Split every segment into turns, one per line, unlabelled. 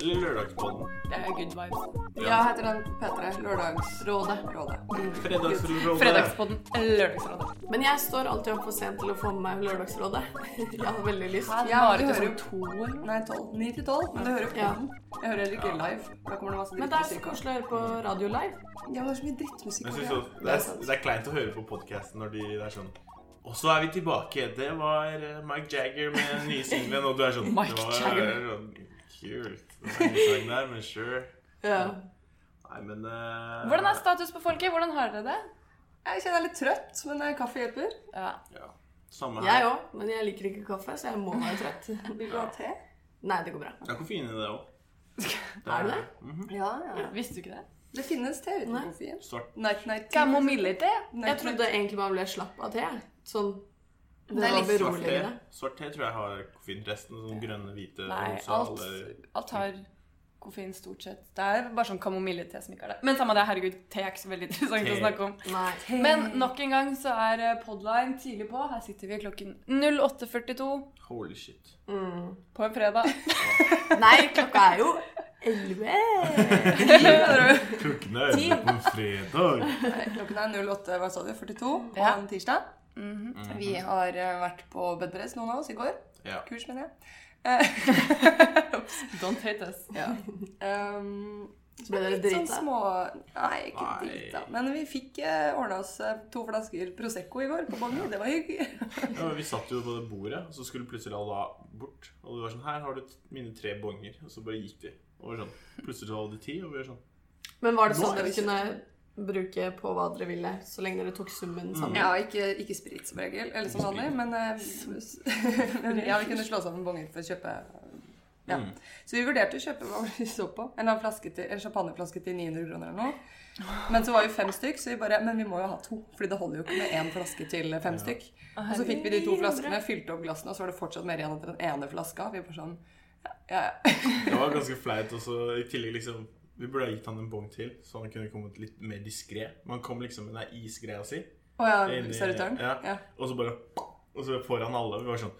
Eller Lørdagspodden.
Det er good vibes.
Ja, heter den P3. Lørdagsrådet.
Rådet.
Fredagsrådet.
Fredagspodden eh, Lørdagsrådet. Men jeg står alltid opp for sent til å få med meg Lørdagsrådet. Jeg har veldig lyst.
Hæ?
Jeg har
Du
ikke
hører
sånn to eller noe.
Nei, 12. 9 til 12. Men du hører på
Ja.
den. Jeg hører heller ikke live. for Da kommer det masse
Men det er så
drittmusikk. også.
koselig å høre på radio live.
Ja, men det er så mye drittmusikk.
Jeg
også,
synes
ja.
også, det, er, det er kleint å høre på podkasten når de det er sånn Og så er vi tilbake. Det var eh, Mike Jagger med den nye singelen, og du er sånn
Mike
det var,
Jagger.
sånn, Kult. Det var en sang der, men sure.
Ja.
Nei, men eh,
Hvordan er status på folket? Hvordan har dere det?
Jeg kjenner jeg er litt trøtt, men eh, kaffe hjelper.
Ja.
ja, Samme her.
Jeg òg, men jeg liker ikke kaffe, så jeg må være trøtt.
Vil du ha te?
Nei, det går bra.
Det er koffein i det òg.
Er det det?
Ja, ja.
Visste du ikke det?
Det finnes te uten
Nei.
koffein.
Svart.
Night, night, tea.
Kamomillete?
Nei,
Jeg trodde egentlig man ble slapp av te. Sånn Det,
Det er
var
Svart
litt
te.
beroligende.
Svart te tror jeg har koffein. Resten sånn grønne, hvite,
Nei,
rosa
alt,
alle-
alt har koffein stort sett. Det er bare sånn kamomille-te som ikke er det. Men samme det, herregud, te er ikke så veldig interessant
Te.
å snakke om.
Nei. Te.
Men nok en gang så er eh, podline tidlig på. Her sitter vi klokken 08.42
Holy shit.
på en fredag.
Nei, klokka er jo 11.
Klokken er elleve på fredag.
Klokken er 08, hva sa du, 42 på
Ja.
en tirsdag.
Mhm.
Vi har eh, vært på bedpress, noen av oss, i går.
Ja.
Kurs, mener jeg.
Don't hate us.
Ja. Um,
Så ble dere
Litt sånn
drita.
små Nei, ikke
Nei.
drita. Men vi fikk uh, ordna oss eh, to flasker Prosecco i går på Bonnie. Det var hyggelig.
Ja, men Vi satt jo på det bordet, og så skulle plutselig alle da bort. Og du var sånn Her har du t- mine tre bonger. Og så bare gikk de. Og var sånn. Plutselig så hadde de ti, og vi var sånn
Men var det
Nå
sånn
er
dere
det ikke-
kunne bruke på hva dere ville, så lenge dere tok summen sammen?
Ja, ikke, ikke sprit som regel, eller som vanlig, men eh, men eh, ja, vi kunne slå sammen bonger for å kjøpe ja.
Mm.
Så vi vurderte å kjøpe hva var det vi så på. En, eller annen flaske til, en champagneflaske til 900 kroner eller noe. Men så var vi fem stykk, så vi bare Men vi må jo ha to, Fordi det holder jo ikke med én flaske til fem stykk. Og så fikk vi de to flaskene, fylte opp glassene, og så var det fortsatt mer igjen etter den ene flaska. Vi bare sånn ja, ja.
Det var ganske flaut. Og så i tillegg liksom Vi burde ha gitt han en bong til, så han kunne kommet litt mer diskré. Man kom liksom med den der isgreia si,
Å ja,
Inni-
servitøren?
ja.
Ja.
og så bare Og så foran alle. Vi var sånn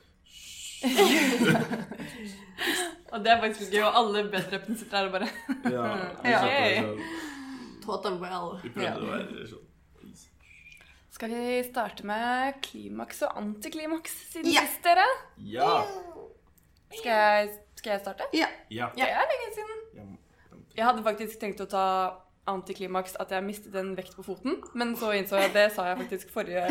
Og det er faktisk gøy, og alle bedrepen sitter her og bare
Ja. Vi,
Ja.
satt der sånn,
Mm.
Taught them well.
vi prøvde å være sånn
Skal vi starte med klimaks og antiklimaks siden
Ja.
sist, dere?
Ja.
Skal jeg, skal jeg starte?
Ja.
Det er lenge siden.
Ja.
Jeg hadde faktisk tenkt å ta antiklimaks at jeg mistet en vekt på foten, men så innså jeg at det sa jeg faktisk forrige,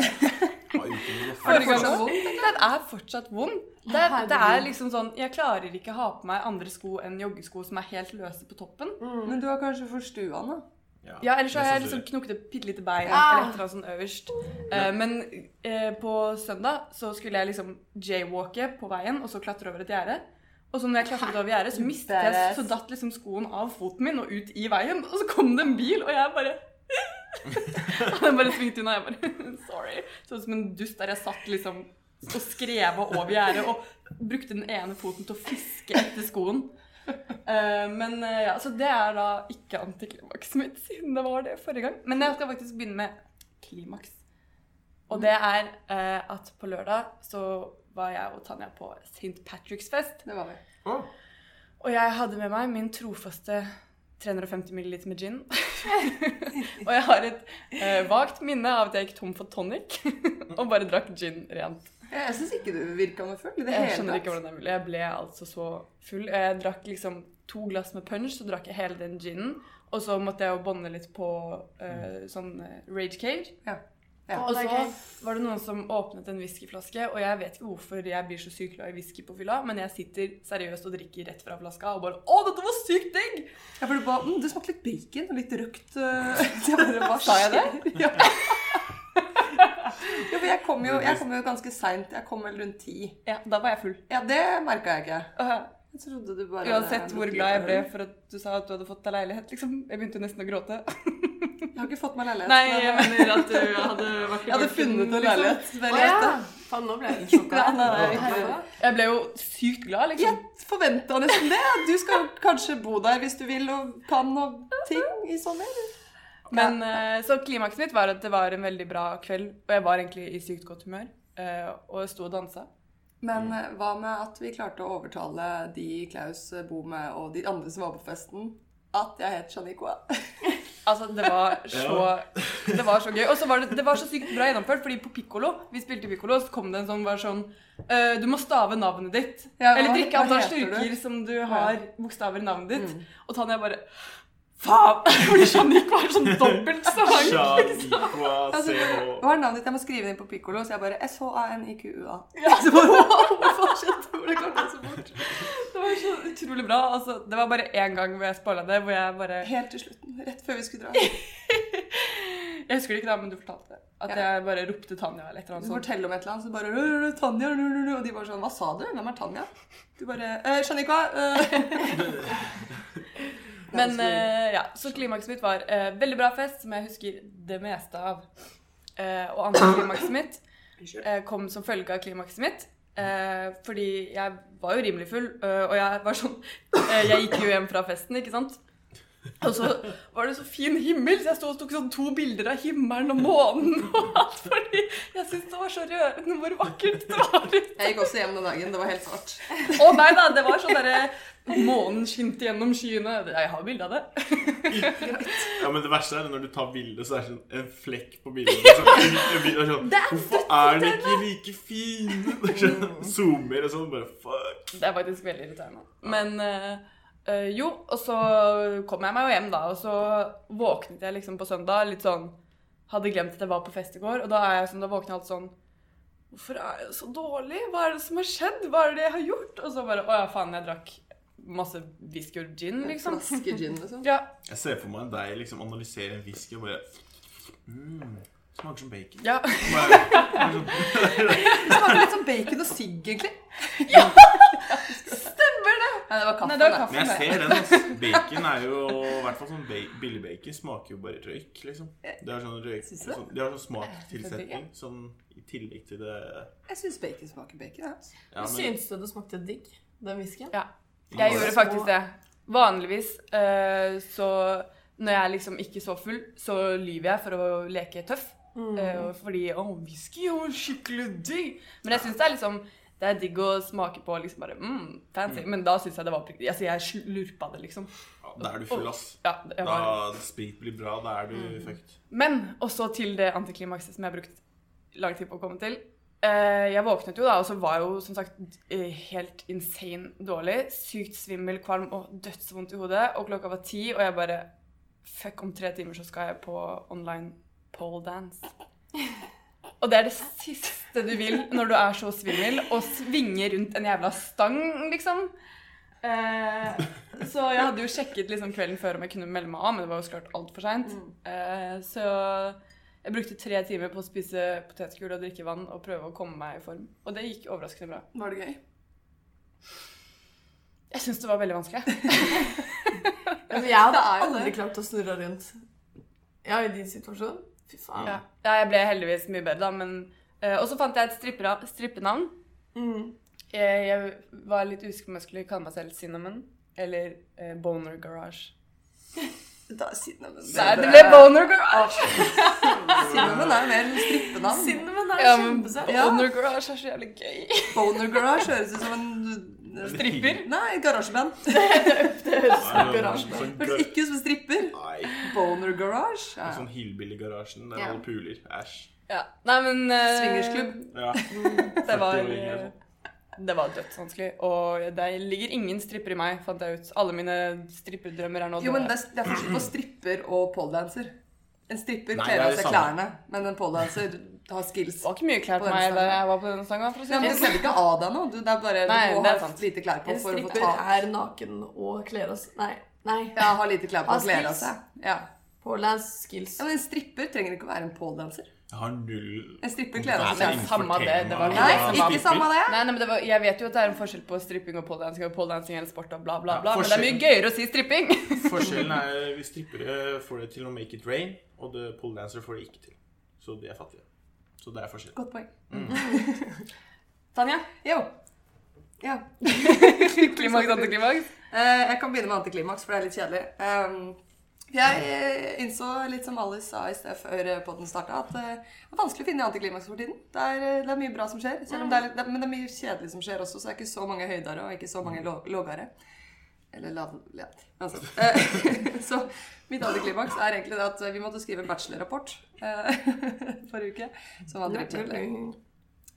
Ja, uten å-
Er det
forrige
fortsatt
gang.
vondt?
Den er fortsatt vond. Det, er- det er
Herregud.
liksom sånn Jeg klarer ikke å ha på meg andre sko enn joggesko som er helt løse på toppen.
Men du har kanskje forstua den, da?
Ja, ellers så
det
har jeg
synes
liksom knokket et bitte lite bein
Ah.
eller et eller annet sånn øverst. Eh, men eh, på søndag så skulle jeg liksom jaywalke på veien og så klatre over et gjerde. Og så når jeg klatret over gjerdet, så mistet jeg,
Badass.
så datt liksom skoen av foten min og ut i veien. Og så kom det en bil, og jeg bare Og den bare svingte unna. Jeg bare Sorry. Sånn som en dust der jeg satt liksom og skreva over gjerdet og brukte den ene foten til å fiske etter skoen. Eh, men eh, ja, så det er da ikke antiklimakset mitt, siden det var det forrige gang. Men jeg skal faktisk begynne med klimaks. Og det er eh, at på lørdag så var jeg og Tanja på St. Patrick's fest.
Det var vi.
Å,
Og jeg hadde med meg min trofaste 350 ml med gin. og jeg har et eh, vagt minne av at jeg gikk tom for tonic og bare drakk gin rent.
Jeg, jeg syns ikke du virka noe full i det
Jeg
hele
skjønner
tatt.
ikke hvordan det er mulig. Jeg ble altså så full. Jeg drakk liksom to glass med punch, så drakk jeg hele den ginen. Og så måtte jeg jo bånde litt på eh, sånn eh, Rage Cage.
Ja. Ja.
Og så var det noen som åpnet en whiskyflaske, og jeg vet ikke hvorfor jeg blir så sykt glad i whisky på fylla, men jeg sitter seriøst og drikker rett fra flaska og bare Å, dette var sykt digg!
Ja, for du ba, mm, det smakte litt bacon og litt røkt øh, jeg bare, Hva
Sa jeg
det? Ja. Jo, for jeg kom jo, jeg kom jo ganske seint. Jeg kom vel rundt ti.
Ja, da var jeg full.
Ja, det merka jeg ikke.
Øh,
Jeg trodde du bare
Uansett hvor glad jeg ble
jeg
for at du sa at du hadde fått deg leilighet, liksom. Jeg begynte jo nesten å gråte.
har ikke fått meg leilighet.
Nei,
men- øh,
jeg mener at du hadde vært i
jeg hadde
Bergen,
funnet en
liksom.
leilighet.
Å
Vel,
ja! Faen, nå ble jeg litt sjokka.
Nei, nei, nei,
Herregud.
Jeg ble jo sykt glad, liksom.
Jeg forventa nesten det. Du skal kanskje bo der hvis du vil og kan og ting i sommer.
Men, eh, så klimaksen mitt var at det var en veldig bra kveld, og jeg var egentlig i sykt godt humør. eh, Og jeg sto og dansa.
Men eh, hva med at vi klarte å overtale de Klaus bor med, og de andre som var på festen, at jeg het Shaniqua?
Altså, det var så, det var så gøy. Og så var det, det var så sykt bra gjennomført, fordi på pikkolo, vi spilte pikkolo, så kom det en sånn, var sånn eh, Du må stave navnet ditt.
Ja, hva-
eller drikke
hva
antall
heter Mm. du?
styrker som du har bokstaver i navnet ditt. Og Tanja bare Faen! Fordi Jannik var sånn dobbelt så lang.
Shaniqua
Altså,
CH.
hva er navnet ditt? Jeg må skrive det inn på pikkolo, så jeg bare S-H-A-N-I-Q-U-A. Så bare, wow, hvorfor skjedde hvor det kom det så fort?
Det var så utrolig bra. Altså, det var bare én gang hvor jeg spoila det, hvor jeg bare
Helt til slutten, rett før vi skulle dra.
Jeg husker det ikke da, men du fortalte det. At
Ja.
jeg bare ropte Tanja eller et eller
Du
annet sånt.
forteller om et eller annet, så bare «Øh, øh, Tanja, øh, øh, øh», Og de bare sånn Hva sa du? Hvem er Tanja? Du bare eh, Shaniqua. Eh.
Men eh, ja, så klimakset mitt var eh, veldig bra fest, som jeg husker det meste av. Eh, og antiklimakset mitt eh, kom som følge av klimakset mitt. eh, fordi jeg var jo rimelig full, eh, og jeg var sånn eh, Jeg gikk jo hjem fra festen, ikke sant? Og så var det så fin himmel, så jeg sto og tok sånn to bilder av himmelen og månen og alt, fordi jeg syntes det var så rørende hvor vakkert det var. liksom.
Jeg gikk også hjem den dagen. Det var helt svart.
Å nei da, det var sånn derre Månen skinte gjennom skyene. Jeg har bilde av det.
Ja, men det verste er det når du tar bilde, så er det sånn en flekk på bildet. Sånn, det er sånn, Hvorfor er den ikke like fin? Det er sånn, Zoomer og sånn. Bare fuck.
Det er faktisk veldig irriterende. Men eh, eh, jo, og så kom jeg meg jo hjem, da. Og så våknet jeg liksom på søndag litt sånn Hadde glemt at jeg var på fest i går. Og da er jeg sånn, da våkner jeg alltid sånn Hvorfor er jeg så dårlig? Hva er det som har skjedd? Hva er det jeg har gjort? Og så bare Å ja, faen, jeg drakk masse whisky og gin, liksom.
Flaske gin, liksom.
Ja,
Jeg ser for meg deg liksom analysere en whisky og bare mm, Smaker som bacon.
ja.
Bare, sånn.
Det smaker litt som bacon og sigg, egentlig.
Stemmer det!
Nei, det var kaffe.
Nei, det var kaffe.
men jeg ser den. Altså. Bacon er jo I hvert fall sånn ba- billig bacon smaker jo bare røyk, liksom. Det er sånn røyk
Syns du det?
sånn, Det har sånn smaktilsetning sånn i tillegg til det
Jeg syns bacon smaker bacon. altså. Ja.
ja, men,
Syns du det smakte digg, den whiskyen?
Ja. Jeg gjorde faktisk det. Vanligvis eh, så Når jeg liksom ikke så full, så lyver jeg for å leke tøff. Eh, fordi Å, whisky er jo skikkelig digg! Men jeg syns det er liksom det er digg å smake på liksom bare mm, fancy. Men da syns jeg det var prikt. Altså, jeg slurpa det, liksom.
ja, Da er du full, ass.
Ja, jeg
Da
var.
sprit blir bra, da er
Mm.
du fucked.
Men også til det antiklimakset som jeg har brukt lang tid på å komme til. Eh, jeg våknet jo da, og så var jeg jo som sagt eh, helt insane dårlig. Sykt svimmel, kvalm og dødsvondt i hodet. Og klokka var ti, og jeg bare Fuck, om tre timer så skal jeg på online pole dance. Og det er det siste du vil når du er så svimmel og svinger rundt en jævla stang, liksom. Eh, så jeg hadde jo sjekket liksom kvelden før om jeg kunne melde meg av, men det var jo så klart altfor seint. Eh, så jeg brukte tre timer på å spise potetgull og drikke vann og prøve å komme meg i form. Og det gikk overraskende bra.
Var det gøy?
Jeg syns det var veldig vanskelig.
Men
Det er
jeg hadde
jo det.
aldri klart å snurre rundt. Ja, i din situasjon. Fy faen.
Ja, jeg ble heldigvis mye bedre, da, men eh, Og så fant jeg et strippera- strippenavn.
Mm.
Jeg, jeg var litt usikker på om jeg skulle kalle meg selv Cinnamon eller eh, Boner Garage.
Da, cinnamon.
Nei, det ble Boner Garage!
Cinnamon er jo mer strippenavn.
Cinnamon er
Ja, men
kjempesøt.
Boner Garage er så jævlig gøy.
Boner Garage høres ut som en
Stripper.
Nei, et garasjeband.
Garasjen. Sånn,
Høres ikke ut som en stripper.
nei.
Boner Garage. Ja.
Sånn hillbilly-garasjen der
Ja.
alle puler. Æsj.
Ja. Nei, men eh,
Swingersklubb.
Ja.
Det var, eh,
40-åringer og sånn.
det var dødsvanskelig. Og det ligger ingen stripper i meg, fant jeg ut. Alle mine stripperdrømmer er nå
Jo, men
døde.
det er det er forskjell på stripper og poledancer. En stripper
Nei,
kler
det er
av
det
seg
samme.
klærne, men en poledancer har skills.
Det var ikke mye klær
På
på
den
meg
stangen.
da jeg var på denne sangen. For å si
Nei,
det
men Du
sånn.
kledde ikke av deg noe. Du, det er bare,
Nei,
du må
det
ha
er sant.
lite klær på for
En
å få
stripper
ta
er naken og kler oss Nei. Nei.
Ja, ha lite klær på
Har
og kler av
skills.
seg. Ja.
Pålands skills.
Ja, men En stripper trenger ikke å være en poledanser.
Jeg har null
En stripper kler av
kompetanse
seg.
altså,
innenfor
samme det,
temaet.
det var-
Nei,
Ja,
ikke samme det.
Nei, nei, men det var, Jeg vet jo at det er en forskjell på stripping og poledancing, og poledancing eller sport og bla, bla,
Ja,
bla, men det er mye gøyere å si stripping.
Forskjellen er vi strippere får det til å make it rain, og the pole dancer får det ikke til. Så de er fattige. Så det er forskjell.
Godt poeng.
Tanja,
Jo. Ja.
klimaks, antiklimaks.
Eh, Jeg kan begynne med antiklimaks, for det er litt kjedelig. Ehm, Jeg eh, innså, litt som Alice sa i sted før poden starta, at eh, det er vanskelig å finne antiklimaks for tiden. Det er, eh, det er mye bra som skjer, selv om det er litt, det- men det er mye kjedelig som skjer også, så det er ikke så mange høydere og ikke så mange lå- lågere. Eller lav... Ja, uansett. Eh, Så mitt antiklimaks er egentlig det at vi måtte skrive en bachelorrapport eh, forrige uke, som var dritkjedelig.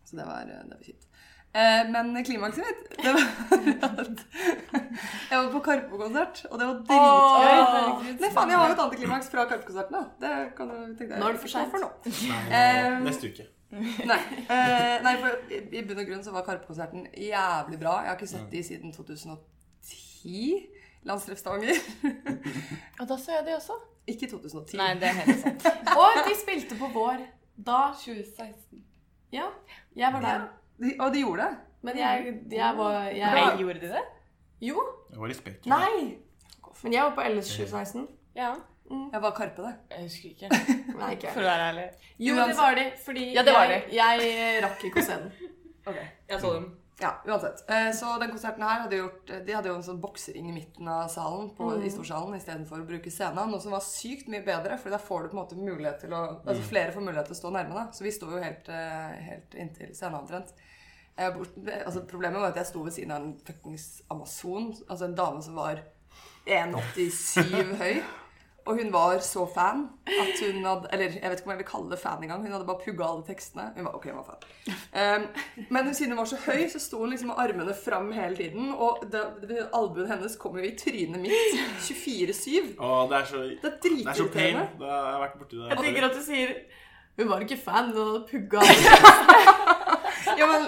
Så det var, det var fint. Eh, men klimakset mitt, det var at jeg var på Karpe-konsert, og det var
Åh,
dritgøy. Nei, faen, jeg har jo et antiklimaks fra Karpe-konserten, da. Det kan du tenke deg.
Nå er det for sent.
nå.
Nei,
Ehm.
eh, neste uke.
Nei, eh, nei for i i bunn og grunn så var Karpe-konserten jævlig bra. Jeg har ikke sett de siden 2010. Landstreff Stavanger.
Og da så jeg det også.
Ikke 2010.
Nei, det er helt sant.
Og de spilte på vår. Da 2016. Ja, jeg var der.
De, og de gjorde det.
Men jeg, jeg var
Nei,
jeg,
gjorde de det?
Jo.
Det var respekt.
Nei! Men jeg var på LS 2016.
Ja.
Jeg var Karpe, det.
Jeg husker ikke,
Nei, ikke
for å være ærlig.
Jo, det var de. Fordi
Ja, det var
jeg, jeg rakk ikke å se den.
Jeg så dem.
Ja, uansett. Eh, Så den konserten her hadde gjort De hadde jo en sånn boksering i midten av salen på, i storsalen istedenfor å bruke scenen. Noe som var sykt mye bedre, for da får du på en måte mulighet til å Altså flere får mulighet til å stå nærme, da. Så vi sto jo helt, eh, helt inntil scenen omtrent. Eh, bort- Altså, problemet var at jeg sto ved siden av en fuckings amazon, altså en dame som var 1,87 høy. Og hun var så fan at hun hadde Eller jeg vet ikke om jeg vil kalle det fan engang. Hun hadde bare pugga alle tekstene. Hun var, ok, hun var fan. Um, men siden hun var så høy, så sto hun liksom med armene fram hele tiden. Og det, det, albuen hennes kom jo i trynet mitt 24-7.
Å, det er så
Det er
Det er så pain.
dritirriterende.
Da har jeg vært borti det.
Jeg tenker at du sier Hun var ikke fan, hun hadde pugga.
Ja, men,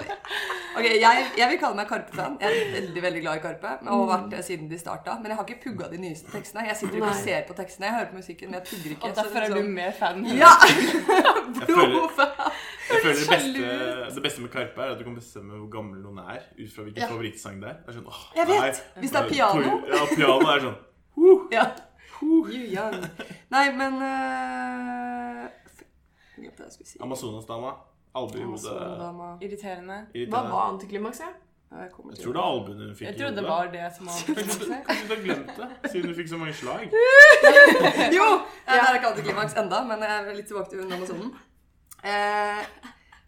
ok, jeg, jeg vil kalle meg Karpe-fan. Jeg er veldig veldig glad i Karpe. Og har vært det siden de starta. Men jeg har ikke pugga de nyeste tekstene. Jeg sitter ikke
Nei.
og ser på tekstene. Jeg hører på musikken, men jeg pugger ikke.
Og
så
derfor
det
er
er
du
sånn-
mer fan.
Ja!
Jeg føler,
Brofan.
jeg føler det, beste,
Sjalu.
det beste med Karpe er at du kan bestemme hvor gammel noen er ut fra hvilken
Ja.
favorittsang det er. Det er sånn, åh,
Jeg vet.
nei.
Hvis det er piano.
Ja, piano er sånn
Ja. You young. Nei, men eh, f- Jeg glemte hva jeg skulle si.
Amazonas-dama. Albue i hodet.
Amazon-dama.
Irriterende.
Hva
Irriterende.
var antiklimakset?
Ja, jeg kommer
Jeg
til
tror det er albuen hun fikk i
Jeg
hodet.
trodde det var det som var
Kanskje du, kanskje du har glemt det, siden du fikk så mange slag?
det. Jo! Ja. Det er ikke antiklimaks enda, men jeg er litt tilbake til hun Amazonen. Eh,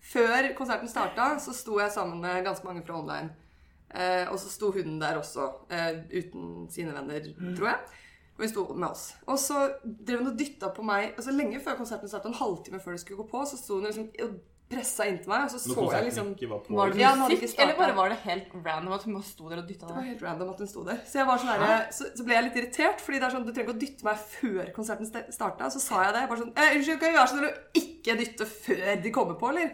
før konserten starta, så sto jeg sammen med ganske mange fra online. Eh, og så sto hun der også, eh, uten sine venner, tror jeg. Og hun sto med oss. Og så drev hun og dytta på meg altså lenge før konserten starta, en halvtime før det skulle gå på, så sto hun liksom og pressa inntil meg, og så
Når
så jeg
konserten
liksom
ikke var på.
Var det
Ja, den hadde ikke
musikk, eller
startet.
bare var det helt random at hun bare sto der og dytta
Det var
deg?
helt random at hun sto der. Så, jeg var sånn der, så, så ble jeg litt irritert. Fordi det er sånn, Du trenger ikke å dytte meg før konserten ste- starta. Så sa jeg det. Jeg bare sånn, «Eh, Unnskyld, kan jeg gjøre sånn at du ikke dytter før de kommer på, eller?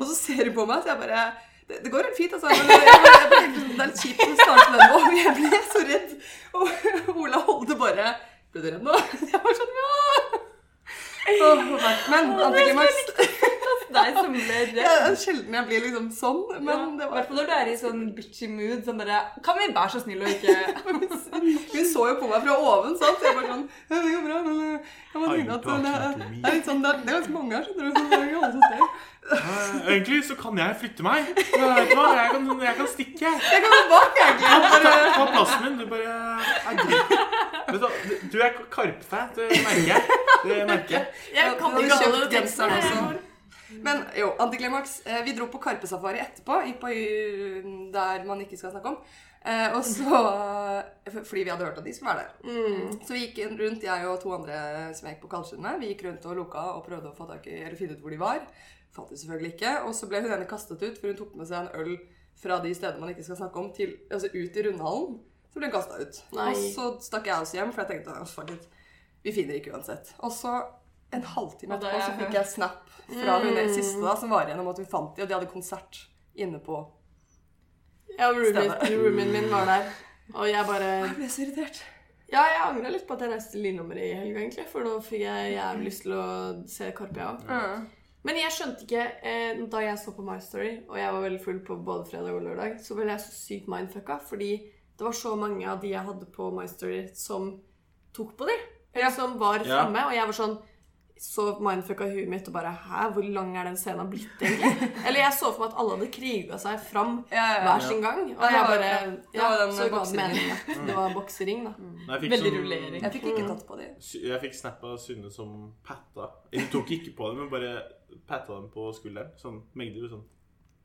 Og så ser hun på meg, så jeg bare det, det går helt fint, altså. Jeg bare, jeg bare, jeg bare, tenkte sånn, det er litt kjipt å starte med nå. men Jeg ble så redd. Og Ola Holde bare Ble du redd nå? Jeg var sånn Ja! Åh, men antiklimaks
Deg som ble
Det er sjelden jeg blir liksom sånn, men det
I
var
hvert fall når du er i sånn bitchy mood. Sånn bare, kan vi være så snill og ikke
Hun så jo på meg fra oven, sant? Så jeg bare sånn «Ja, Det går bra, men eh, jeg bare tenkte at det er, det er litt sånn Det er, det er ganske mange her, skjønner du. Så det er ikke alle som ser.
Eh, Egentlig så kan jeg flytte meg. Men vet du hva? Jeg kan, jeg kan stikke.
Jeg kan gå bak, jeg, egentlig.
Ta, ta plassen min. Du bare Nei, du- Vet du, hva? Du- du er karpfan, det merker jeg. Det merker jeg.
Jeg
Ja,
kan
du hadde
ikke alle
kjøpt genseren
tekstene.
også. Men jo, antiklimaks. Eh, Vi dro på Karpesafari etterpå, i på y- der man ikke skal snakke om. Eh, og så, eh, Fordi vi hadde hørt at de skulle være der.
Mm.
Så vi gikk rundt, jeg og to andre som jeg gikk på Kalsund med. Vi gikk rundt og loka og prøvde å få tak i, eller finne ut hvor de var. Fant de selvfølgelig ikke. Og så ble hun ene kastet ut, for hun tok med seg en øl fra de stedene man ikke skal snakke om, til, altså ut i rundhallen. Så ble hun kasta ut.
Nei.
Og så stakk jeg også hjem, for jeg tenkte «Åh, fuck it, vi finner ikke uansett. Og så en halvtime
Og da
etterpå
er
så
jeg
fikk jeg Mm. snap fra hun siste da, som var igjen om at hun fant de, og de hadde konsert inne på
Ja, roomien,
Stemmer.
roomien min var der. Og jeg bare
Jeg ble så irritert.
Ja, jeg angra litt på at jeg reiste til Lillehammer i helga, egentlig. For nå fikk jeg jævlig lyst til å se Karpe, jeg òg. Men jeg skjønte ikke eh, Da jeg så på My Story, og jeg var veldig full på både fredag og lørdag, så ble jeg så sykt mindfucka. Fordi det var så mange av de jeg hadde på My Story, som tok på de. Eller som var
Ja.
fremme. Og jeg var sånn så mindfucka i huet mitt og bare Hæ, hvor lang er den scenen blitt, egentlig? Eller jeg så for meg at alle hadde kriga seg fram
Ja, ja, ja.
hver sin gang. Og
Ja, det
jeg
var-
bare
det var
ja,
den
Så ga det
bokseringen.
mening at det var boksering, da.
Nei, jeg fikk
Veldig
sånn-
rullering.
Jeg fikk ikke tatt på de.
Sy- Jeg fikk snap av Synne som patta. Hun tok ikke på dem, men bare patta dem på skulderen. Sånn megdig og sånn.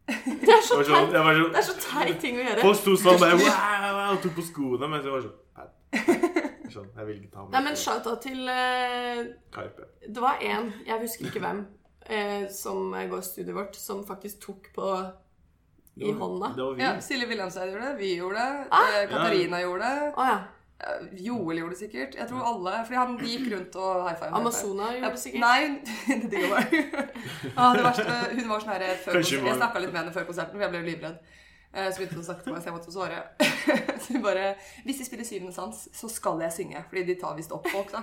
Det er så
Jeg var sånn,
teit.
jeg var
Det er
sånn
så teit ting å gjøre.
Folk sto sånn bare wow, wow, og tok på skoene, mens jeg var sånn pat. Sånn, jeg vil ikke ta
Nei, men
med
shout-out til eh,
Karpe.
Det var én, jeg husker ikke hvem, eh, som går studiet vårt, som faktisk tok på i
Det var-
hånda.
Det var vi.
Ja, Silje Wilhelmsen gjorde det, vi gjorde det,
Ah!
eh, Katarina gjorde det.
Å ja.
eh, Joel gjorde det sikkert. Jeg tror alle Fordi han gikk rundt og high five.
Amazona gjorde det sikkert.
Nei, det digger meg. Ah, det verste, hun var sånn her eh,
Kanskje
før konserten.
hun var-
Jeg snakka litt med henne før konserten, for jeg ble jo livredd. Eh, Så begynte hun å snakke til meg, så jeg måtte svare. Så hun bare Hvis de spiller Syvende sans, så skal jeg synge. Fordi de tar visst opp folk, da.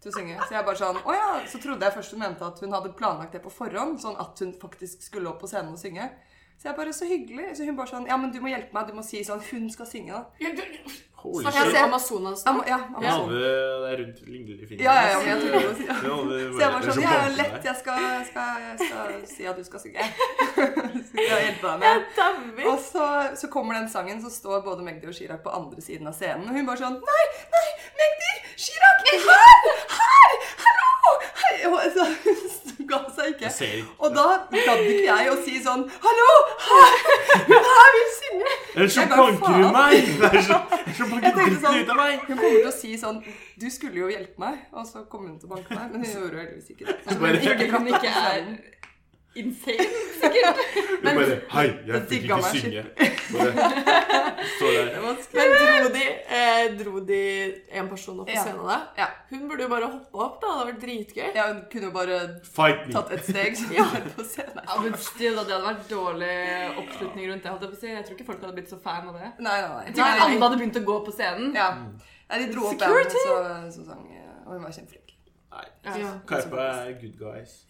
Til å synge. Så jeg bare sånn Å ja. Så trodde jeg først hun mente at hun hadde planlagt det på forhånd, sånn at hun faktisk skulle opp på scenen og synge. Så jeg bare Så hyggelig. Så hun bare sånn Ja, men du må hjelpe meg. Du må si sånn Hun skal synge, da.
Holy
Snakker
shit.
vi om Amazonas nå?
Ja, ja,
Hun
Amazon.
hadde deg rundt lillefingeren.
ja, ja, ja, men jeg trodde hun
Hun hadde
Så jeg var
vært-
sånn,
det
ja,
er
ja,
banken
lett,
der.
jeg skal, jeg skal, jeg skal si at du skal synge. Skal jeg hjelpe deg med.
Dauer.
Og så, så kommer den sangen, så står både Magdi og Chirag på andre siden av scenen. Og hun bare sånn Nei, nei, Magdi! Chirag! Her! Her! Hallo! Hei! Og så, hun ga seg ikke.
Jeg ser ikke.
Og da gadd ikke jeg å si sånn Hallo! Her! Hun her vil synge!
Eller så
Jeg bare,
banker hun
faen.
meg! Det er så- det er så banker
Jeg tenkte
dritten
sånn,
ut av meg!
Hun kommer til å si sånn Du skulle jo hjelpe meg. Og så kommer hun til å banke meg. Men hun gjorde jo heldigvis ikke det.
Bare-
Men
Fordi hun ikke er insane, sikkert.
Hun bare Hei, jeg
det
fikk
digga
ikke
meg
synge. Bare står der.
Men dro de, eh, dro de en person opp på
Ja.
scenen da?
Ja.
Hun burde jo bare hoppe opp, da. Det hadde vært dritgøy.
Ja, hun kunne jo bare
Fight me.
tatt et steg, så var det på scenen.
Ja, men still, da, Det hadde vært dårlig oppslutning rundt det. holdt Jeg på å si. Jeg tror ikke folk hadde blitt så fan av det.
Nei, nei, nei.
Jeg tror ikke alle hadde begynt å gå på scenen.
Ja. nei de dro opp bandet, så, så sang eh, Og hun var kjempeflink.
Nei.
Ja.
sånn.
Karpe er good guys.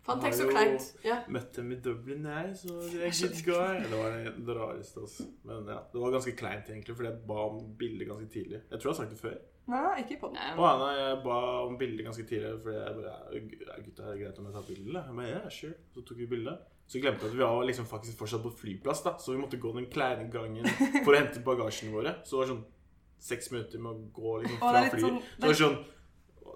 Faen, tenk så
Har jo-
kleint. Ja.
Møtte dem i Dublin, jeg, så det er good guy. Det var det rareste, altså. Men ja, det var ganske kleint, egentlig, fordi jeg ba om bilde ganske tidlig. Jeg tror jeg har sagt det før.
Nei, ikke på den.
Nei,
Å, nei, jeg ba om bilde ganske tidlig, fordi jeg bare ja, Gutta, er det greit om jeg tar bilde? eller? Jeg bare, ja, sure. Så tok vi bilde. Så glemte jeg at vi var liksom faktisk fortsatt på flyplass, da. Så vi måtte gå den kleine gangen for å hente bagasjene våre. Så det var sånn seks minutter med å gå liksom,
Å, det
fra
er litt
flyet.
sånn-
Så det var sånn «Å,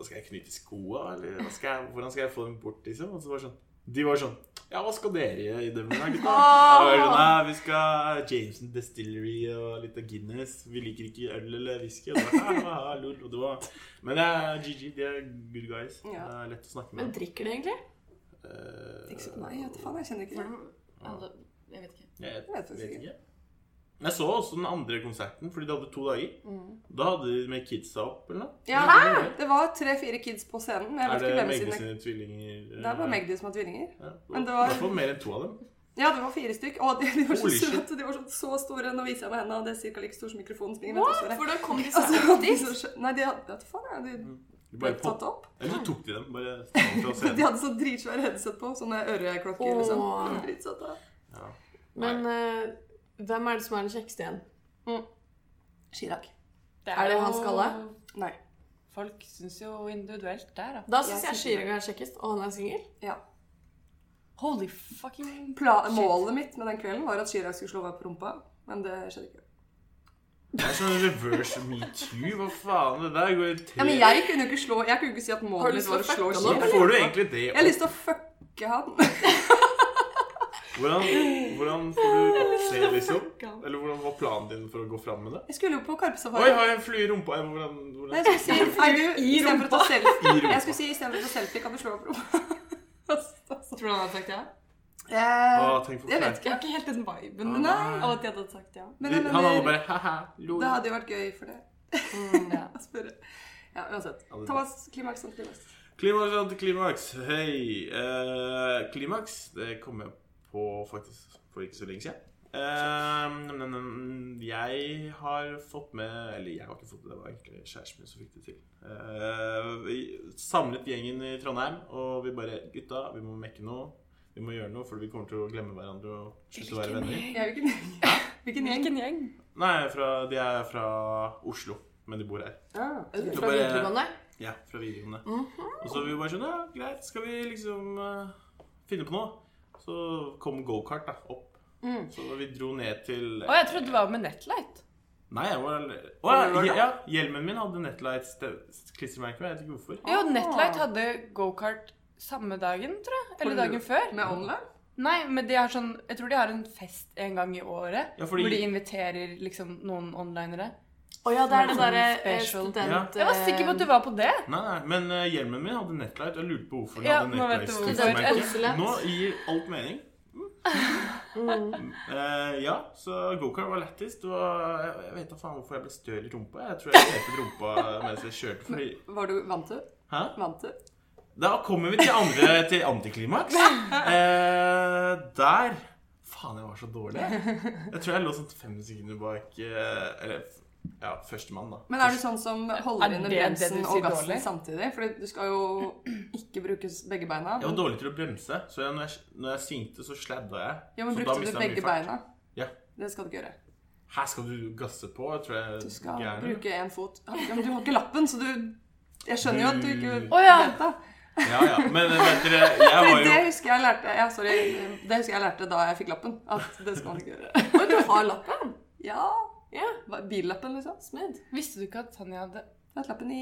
Skal jeg knyte skoa, eller hva skal jeg, hvordan skal jeg få dem bort, liksom? Og så var det sånn De var sånn Ja, hva skal dere gjøre i Dublin, da, gutta? Og jeg var sånn, Nei, vi skal Jameson Distillery og litt av Guinness. Vi liker ikke øl eller whisky. Og det var, «Ah, ah, ah, lol. Og det var Men det er GG. De er good guys.
Ja.
Det er lett å snakke
Men
med.
drikker de egentlig?
Eh,
Ikke så- Nei, vet du faen, jeg kjenner ikke det.
Jeg vet ikke.
Jeg
vet
vet,
faktisk ikke.
ikke. Men Jeg så også den andre konserten, fordi de hadde to dager. Da hadde de med kidsa opp, eller noe.
Mm. Ja,
Hæ?
det var tre-fire kids på scenen. men Jeg
Er
vet
det
ikke hvem
Megde
sine
sine tvillinger? eh,
Det var Magdi som var tvillinger.
Ja, det var,
Men det
det
var-
var... I hvert fall mer enn to av dem.
Ja, det var fire stykk. Å, de, de var så
Holy shit.
søte. De var så, så store. Nå viser jeg meg henda. Det er cirka like stor som mikrofonen. som ligger ved
What?
testoret.
Hvordan kom de
Altså,
Og så
seg
hadde
opp
de
dit?
så skjø- Nei, de hadde vet du faen, jeg, de
De
ble
bare pop...
tatt opp.
Eller så tok de dem. Bare stand fra
De
scenen.
hadde så dritsvære headset på, sånne øreklokker, liksom.
Åh.
Dritsøte.
Ja.
Men eh, hvem er det som er den kjekkeste igjen?
Chirag.
eh,
Er det hans skalle?
Nei.
Folk syns jo individuelt der, da.
Da
Altså,
syns
Jeg
jeg
synes
Chirag er kjekkest, og han er singel.
Ja.
Holy fucking
Pla
Shit.
målet mitt med den kvelden var at Chirag skulle slå meg på rumpa, men det skjedde ikke.
Det er sånn reverse metoo. Hva faen? Det der går i tre
Ja, men jeg kunne jo ikke slå Jeg kunne ikke si at
Har
målet
du
mitt var å
lyst til å
slå
fucke
Chirag.
han opp?
Hvorfor får du egentlig det
Jeg har
opp?
lyst til å fucke han.
Hvordan, hvordan får du oppse, liksom? Eller hvordan var planen din for å gå fram med det?
Jeg skulle jo på
Oi,
karpesafari.
har jeg en flue i rumpa? Eller Hvordan,
Nei,
hvordan?
jeg skulle si er du,
I
istedenfor å ta selfie
I rumpa.
Jeg skulle si istedenfor å ta selfie, kan du slå meg på rumpa?
Tror du han hadde sagt ja?
Eh,
Ah, tenk for
jeg vet
kleint.
ikke.
Jeg har ikke helt den viben
Nei.
av at de hadde sagt ja.
Men jeg
Han hadde
mener,
bare ha-ha, lol.
det hadde jo vært gøy for det.
Mm,
ja.
å spørre. Ja, uansett.
Ja, det-
Thomas, klimaks, antiklimaks.
Klimaks antiklimaks. Hei. Eh, klimaks, det kom jeg på faktisk for ikke så lenge siden. Ehm, nem, nem, nem. jeg har fått med Eller jeg har ikke fått med det, det var egentlig kjæresten min som fikk det til. Eh, vi samlet gjengen i Trondheim, og vi bare Gutta, vi må mekke noe. Vi må gjøre noe, for vi kommer til å glemme hverandre og slutte å være venner.
Ja, hvilken, hvilken gjeng?
Hvilken gjeng?
Nei, fra, de er fra Oslo, men de bor her.
Ah,
Fra
tror bare-
videregående?
Ja, fra videregående.
Mhm.
Og så vi bare sånn, ja, greit, skal vi liksom eh, finne på noe? Så kom go-kart da, opp.
Mm.
Så vi dro ned til
Å, jeg trodde det var med Netlight.
Nei, jeg var Å, ja, ja, hjelmen min hadde Netlights-klistremerke, men jeg vet ikke hvorfor.
Jo, Netlight hadde gokart samme dagen, tror jeg. Eller dagen før.
Med online?
Nei, men de har sånn Jeg tror de har en fest en gang i året
Ja, fordi-
hvor de inviterer liksom noen onlinere.
Å ja, det er det
Sånn
derre eh,
special.
student...
Ja.
Jeg var sikker på at du var på det.
Nei, nei, men eh, hjelmen min hadde Netlight, og jeg lurte på hvorfor den
Ja,
hadde
nå vet du hvorfor.
Netlight-klistremerke.
Konsulent.
Nå gir alt mening.
Mm.
Eh, ja, så go-kart var lettest. Og jeg, jeg vet da faen hvorfor jeg ble støl i rumpa. Jeg tror jeg knepet rumpa mens jeg kjørte. Fordi,
Var du vant du?
hæ?
Vant du?
Da kommer vi til, andre, til antiklimaks. Eh, der Faen, jeg var så dårlig. Jeg tror jeg lå sånn fem sekunder bak eh, Eller ja, førstemann, da.
Men er du sånn som
Er
holder inne
det det du
bremsen
sier
og gassen
dårlig?
samtidig? Fordi du skal jo ikke bruke begge beina.
Jeg var dårlig til å bremse, så jeg, når, jeg, når jeg svingte, så sladda jeg.
Ja, men
så
brukte
mistet
du
jeg mye
begge
fart.
beina?
Ja.
Det skal du ikke gjøre.
Her skal du gasse på. Jeg tror jeg
Du skal
gæren, eller?
bruke én fot. Ja, men du har ikke lappen, så du Jeg skjønner jo at du ikke
Du-
Å ja.
venta.
Ja, ja. Men eh, vet dere, jeg var
Det
jo
husker jeg lærte ja, sorry. Det husker jeg lærte da jeg fikk lappen. At det skal man ikke gjøre.
Men du har lappen?
Ja,
Ja.
hva- Billappen, liksom.
Smidd.
Visste du ikke at Tanja hadde
Jeg har hatt lappen i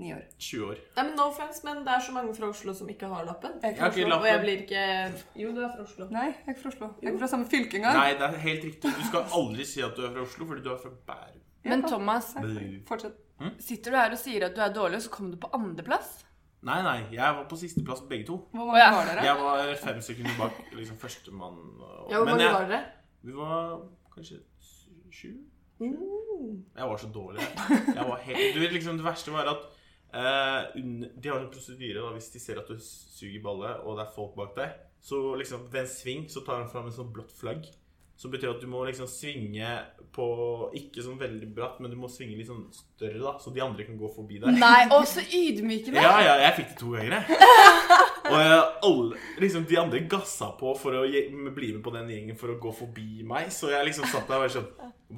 ni år.
20 år.
Nei, men No offense, men det er så mange fra Oslo som ikke har lappen.
Jeg er
Jeg har
ikke
ikke
fra Oslo.
Og jeg
lappen.
blir ikke Jo, du er fra Oslo.
Nei, jeg er ikke fra Oslo. Jeg er ikke fra samme fylke engang.
Nei, det er helt riktig. Du skal aldri si at du er fra Oslo, fordi du er fra Bærum.
Men Thomas,
Bærum.
Fortsett.
sitter du her og sier at du er dårlig, og så kom du på andreplass?
Nei, nei. Jeg var på sisteplass på begge to.
Hvor
Å,
mange
ja.
var dere?
Jeg var fem sekunder bak liksom, førstemann. og-
Ja, hvor
Men
mange
jeg-
var dere?
Vi var kanskje sy- sju? Jeg var så dårlig. Jeg var helt, du vet liksom Det verste var at eh, under, De har en prosedyre da hvis de ser at du suger balle, og det er folk bak deg. Så liksom ved en sving så tar han fram en sånn blått flagg. Som betyr at du må liksom svinge på Ikke sånn veldig bratt, men du må svinge litt sånn større, da så de andre kan gå forbi deg.
Nei, å, så ydmykende!
Ja, ja, jeg fikk det to ganger, jeg. Og jeg, alle, liksom, de andre gassa på for å gje- bli med på den gjengen for å gå forbi meg. Så jeg liksom satt der og bare sånn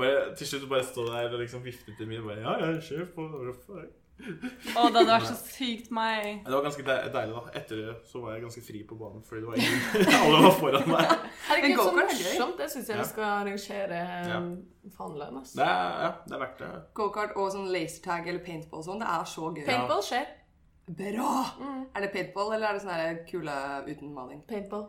bare, Til slutt bare stå der og liksom vifte til min og bare Ja, ja, kjør på. hva faen?»
Å, det hadde vært så sykt meg.
Det var ganske de- deilig, da. Etter det så var jeg ganske fri på banen fordi det var ingen Alle var foran meg.
Men
Herregud, så
go-kart er gøy.
morsomt. Det syns jeg
Ja.
vi skal arrangere
Ja.
um, faenlønn.
Det er, ja, det er verdt det.
Gokart og sånn lasertag eller paintball og sånn. Det er så gøy.
Ja.
Paintball skjer.
Bra!
Mm.
Er det paintball, eller er det sånn her kule uten maling?
Paintball.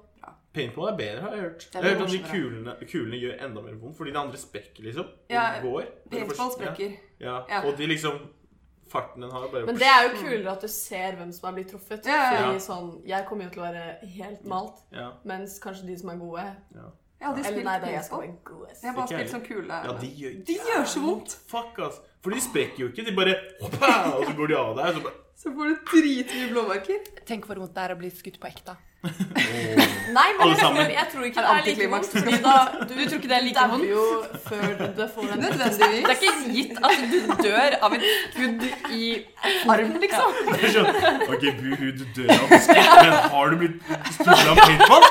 Paintball er bedre, har jeg hørt. Jeg
er
har hørt at de
mye
kulene, kulene gjør enda mer vondt fordi de andre sprekker, liksom. Og
Ja,
går.
Paintball
Ja,
sprekker.
ja.
Ja.
Og de liksom Farten den har, bare
Men det er
Mm.
jo kulere at du ser hvem som er blitt truffet.
Ja, ja, ja.
Fordi sånn, Jeg kommer jo til å være helt malt,
ja,
mens kanskje de som er gode
ja.
Jeg hadde
Eller
spilt
nei, det er jeg som
paintball.
er gode.
Jeg har bare
Ikke
spilt
heller.
sånn kule
Ja, de gjør
De gjør så vondt!
Fuck, ass. For de sprekker jo ikke. De bare hoppa, Og så går de av deg. og Så bare,
Så får du dritmye blåmerker.
Tenk hvor vondt det er å bli skutt på ekte.
Nei, men
Alle
jeg tror,
sammen.
jeg tror ikke
Er
det er like
antiklimaks.
vondt. Fordi da, du,
Du tror ikke det er like
dauer
vondt?
jo før du- du får en
Det
Nødvendigvis.
er ikke gitt at du dør av et skudd i arm, liksom.
Det er sånn, ok, buhu, du dør av skudd, men har du blitt stukket av paintball?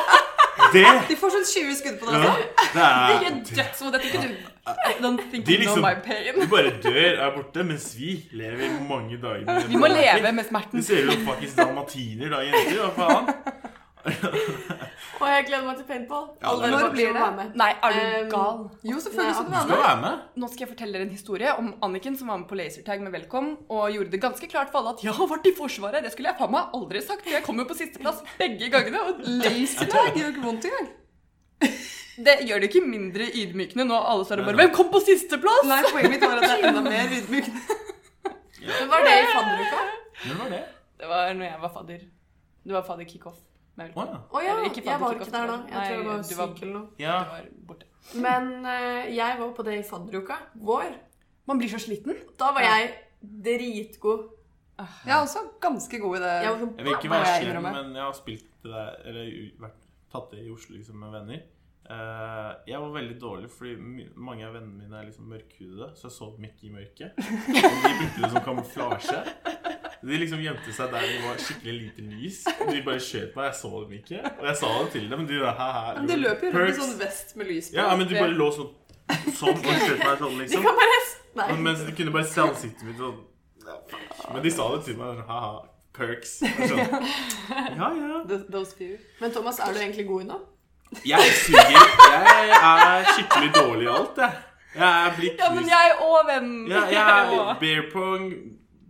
Det
De får sånn 20 skudd på deg.
ja,
altså.
Det
Ikke
er
dødsvondt. Jeg tror ikke du I don't think
De
you know
liksom-
my pain.
Du bare dør, er borte, mens vi lever mange dager. med
Vi må
blåmerker.
leve med
Vi
smerten.
ser ut som faktisk dalmatiner dagen etter. Hva faen?
Og jeg gleder meg til paintball.
Ja,
Alle
det er
dere
Når
folk
blir
som
det?
var med.
Nei, er
Um,
du gal?
Jo, selvfølgelig skal du
Du
være
skal
med.
være med.
Nå skal jeg fortelle dere en historie om Anniken som var med på lasertag med Velkom, og gjorde det ganske klart for alle at jeg har vært i Forsvaret. Det skulle jeg faen meg aldri sagt, for jeg kom jo på sisteplass begge gangene. Og
Lasertag gjør ikke vondt engang.
det gjør det ikke mindre ydmykende nå alle står og bare Hvem kom på sisteplass?!
Nei, poenget mitt var at det er enda mer ydmykende.
Men var det i fadderuka?
Når var det?
Det var når jeg var fadder. Du var fadder kickoff. med
Å
Velkom.
ja.
Å ja,
Eller ikke
jeg var
fadderuka,
ikke der da. Jeg tror jeg
Nei,
var
du var-
syk eller noe.
ja.
Du var borte.
Men eh, jeg var på det i fadderuka vår.
Man blir så sliten.
Da var jeg dritgod.
Jeg er også ganske god i det.
Jeg var sånn
Jeg vil ikke
Må
være
jeg
slem,
innrømme.
men jeg har spilt det der Eller u- vært, tatt det i Oslo liksom, med venner. Eh, jeg var veldig dårlig, fordi my- mange av vennene mine er liksom mørkhudede, så jeg sov mye i mørket. Og de brukte det som kamuflasje. De liksom gjemte seg der det var skikkelig lite lys. De bare skjøt meg, jeg så dem ikke. Og jeg sa det til dem, men de bare hæ-hæ.
Men de løper jo rundt i sånn vest med lys på.
Ja, men de bare lå sånn sånn og skjøt meg sånn,
De
liksom.
kan bare Nei.
Men mens de kunne bare se ansiktet mitt sånn «Ja, fuck». Men de sa det til meg sånn ha-ha, perks. Og Sånn. Ja, ja.
Th- Those few.
Men Thomas, er du egentlig god ennå?
Jeg suger. Jeg er skikkelig dårlig i alt, jeg. Jeg er blitt
Ja, men jeg og vennen.
Ja, jeg er litt beer pong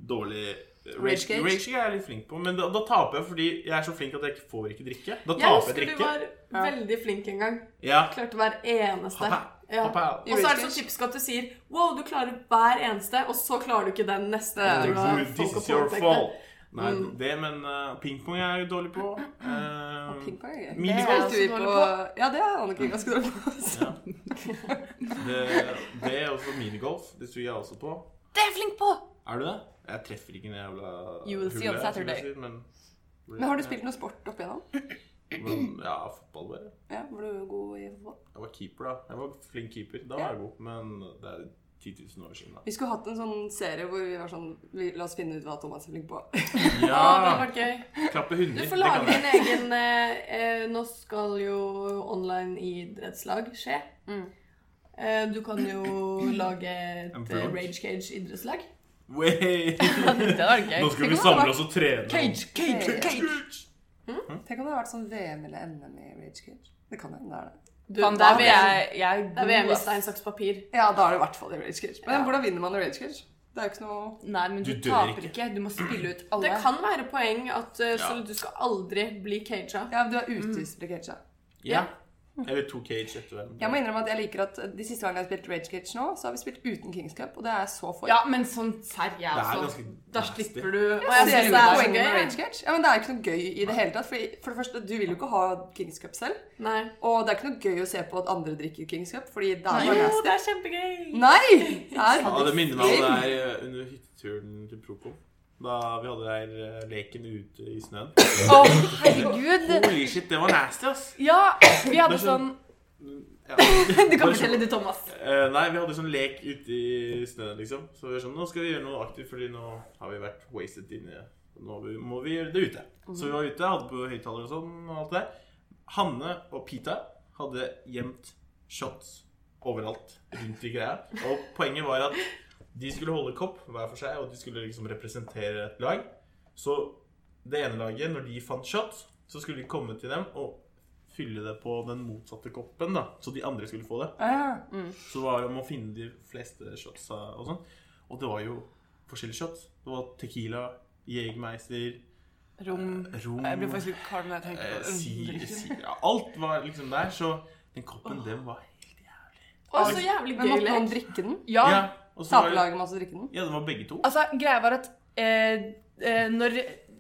dårlig.
Rage cage.
Rage cage er jeg litt flink på, men da, da taper jeg fordi jeg er så flink at jeg ikke får ikke drikke. Da taper
Jeg
jeg
husker du
drikke.
var veldig flink en gang.
Ja.
Klarte hver eneste.
Hoppa,
Ja.
hoppa.
Og så er det så typisk at du sier Wow, du klarer hver eneste, og så klarer du ikke den neste.
Det er
Du har
liksom, This
folk
is
å
your
påpeke.
fault. Nei,
Mm.
det, men eh, pingpong er jeg jo dårlig på. Eh,
Pingpong er gøy.
Minigolf.
Det spilte vi
Det er jeg også
på Ja, det er han ikke ganske dårlig på. altså.
ja. det, det er også minigolf. Det suger jeg også på.
Det er jeg flink på!
Er du det? Jeg treffer ikke den jævla
You will see on
hullet, som jeg
Saturday.
sier, men,
Men har du spilt noe sport opp igjennom?
Men, Ja, fotball bare.
Ja, Var du god i fotball?
Jeg var keeper, da. Jeg var flink keeper. Da var jeg god. Men det er 10 000 år siden, da.
Vi skulle hatt en sånn serie hvor vi var sånn vi, La oss finne ut hva Thomas er flink på.
Å, det hadde vært gøy.
Klappe
Du
hunder.
får
det kan
lage
jeg.
en egen eh, eh, Nå skal jo online idrettslag skje.
Mm.
Eh, du kan jo lage et
En
eh,
vlogg.
Rage Cage idrettslag.
Wey!
Det hadde vært gøy.
Nå skal
Tenk
vi
om det
samle
var-
oss og trene.
Cage, cage, cage.
Tenk om det hadde vært sånn VM eller NM i Rage Cage. Det kan hende det er det.
Du,
Faen,
da
der vil jeg, jeg
Det er VM i
ass.
stein, saks, papir.
Ja, da er det i hvert fall i Rage Cage. Men
Ja.
hvordan vinner man i Rage Cage? Det er jo ikke noe
Nei, men du,
Du dør
taper
ikke.
ikke. Du må spille ut alle.
Det kan være poeng at eh, så
Ja.
du skal aldri bli caga.
Ja, du er ute i Rage Cage.
Ja.
ja.
Eller to cage etter
Jeg
hverandre.
må innrømme at jeg liker at eh, de siste gangene jeg har spilt Rage Cage nå, så har vi spilt uten Kings Cup, og det er jeg så for.
Ja, men sånn serr, jeg
Det er
også.
ganske
Da
nasty.
slipper du Og
jeg
jeg
Ser
synes
synes
du
det er
så
så
poenget
gøy,
med
ja.
Rage Cage? Ja, men det er ikke noe gøy i det hele tatt. fordi- For det første, du vil jo ikke ha Kings Cup selv.
Nei.
Og det er ikke noe gøy å se på at andre drikker Kings Cup, fordi det er
Jo,
bare nasty.
det er kjempegøy!
Nei! Det er
Ja, det minner meg om det her eh, under hytteturen til Procom. Da vi hadde der eh, leken ute i snøen.
Å, herregud!
Holy shit, det var nasty, ass.
Ja, vi
Det
hadde
er
sånn
Ja.
Du kan
Bare så-
fortelle det, Thomas.
Eh, nei, vi hadde sånn lek ute i snøen, liksom. Så vi var sånn, nå skal vi gjøre noe aktivt, fordi nå har vi vært wasted inne. Nå vi- må vi gjøre det ute. Så vi var ute, hadde på høyttaler og sånn, og alt det. Hanne og Pita hadde gjemt shots overalt rundt i greia. Og poenget var at de skulle holde kopp hver for seg, og de skulle liksom representere et lag. Så det ene laget, når de fant shots, så skulle de komme til dem og fylle det på den motsatte koppen, da. Så de andre skulle få det.
Ja, ja.
Så det var om å finne de fleste shotsa og sånn. Og det var jo forskjellige shots. Det var tequila, Jegermeister,
Rom
rom
Jeg blir faktisk litt kald når jeg tenker
Mm. eh,
på
si,
det.
si, ja, Alt var liksom der, så den koppen, den var helt jævlig.
Å, så jævlig
Men
gøy
måtte man
lek.
drikke den?
Ja,
Ja, og så var det,
Tapelaget måtte drikke den?
ja, det var begge to.
altså, greia var at eh, eh, når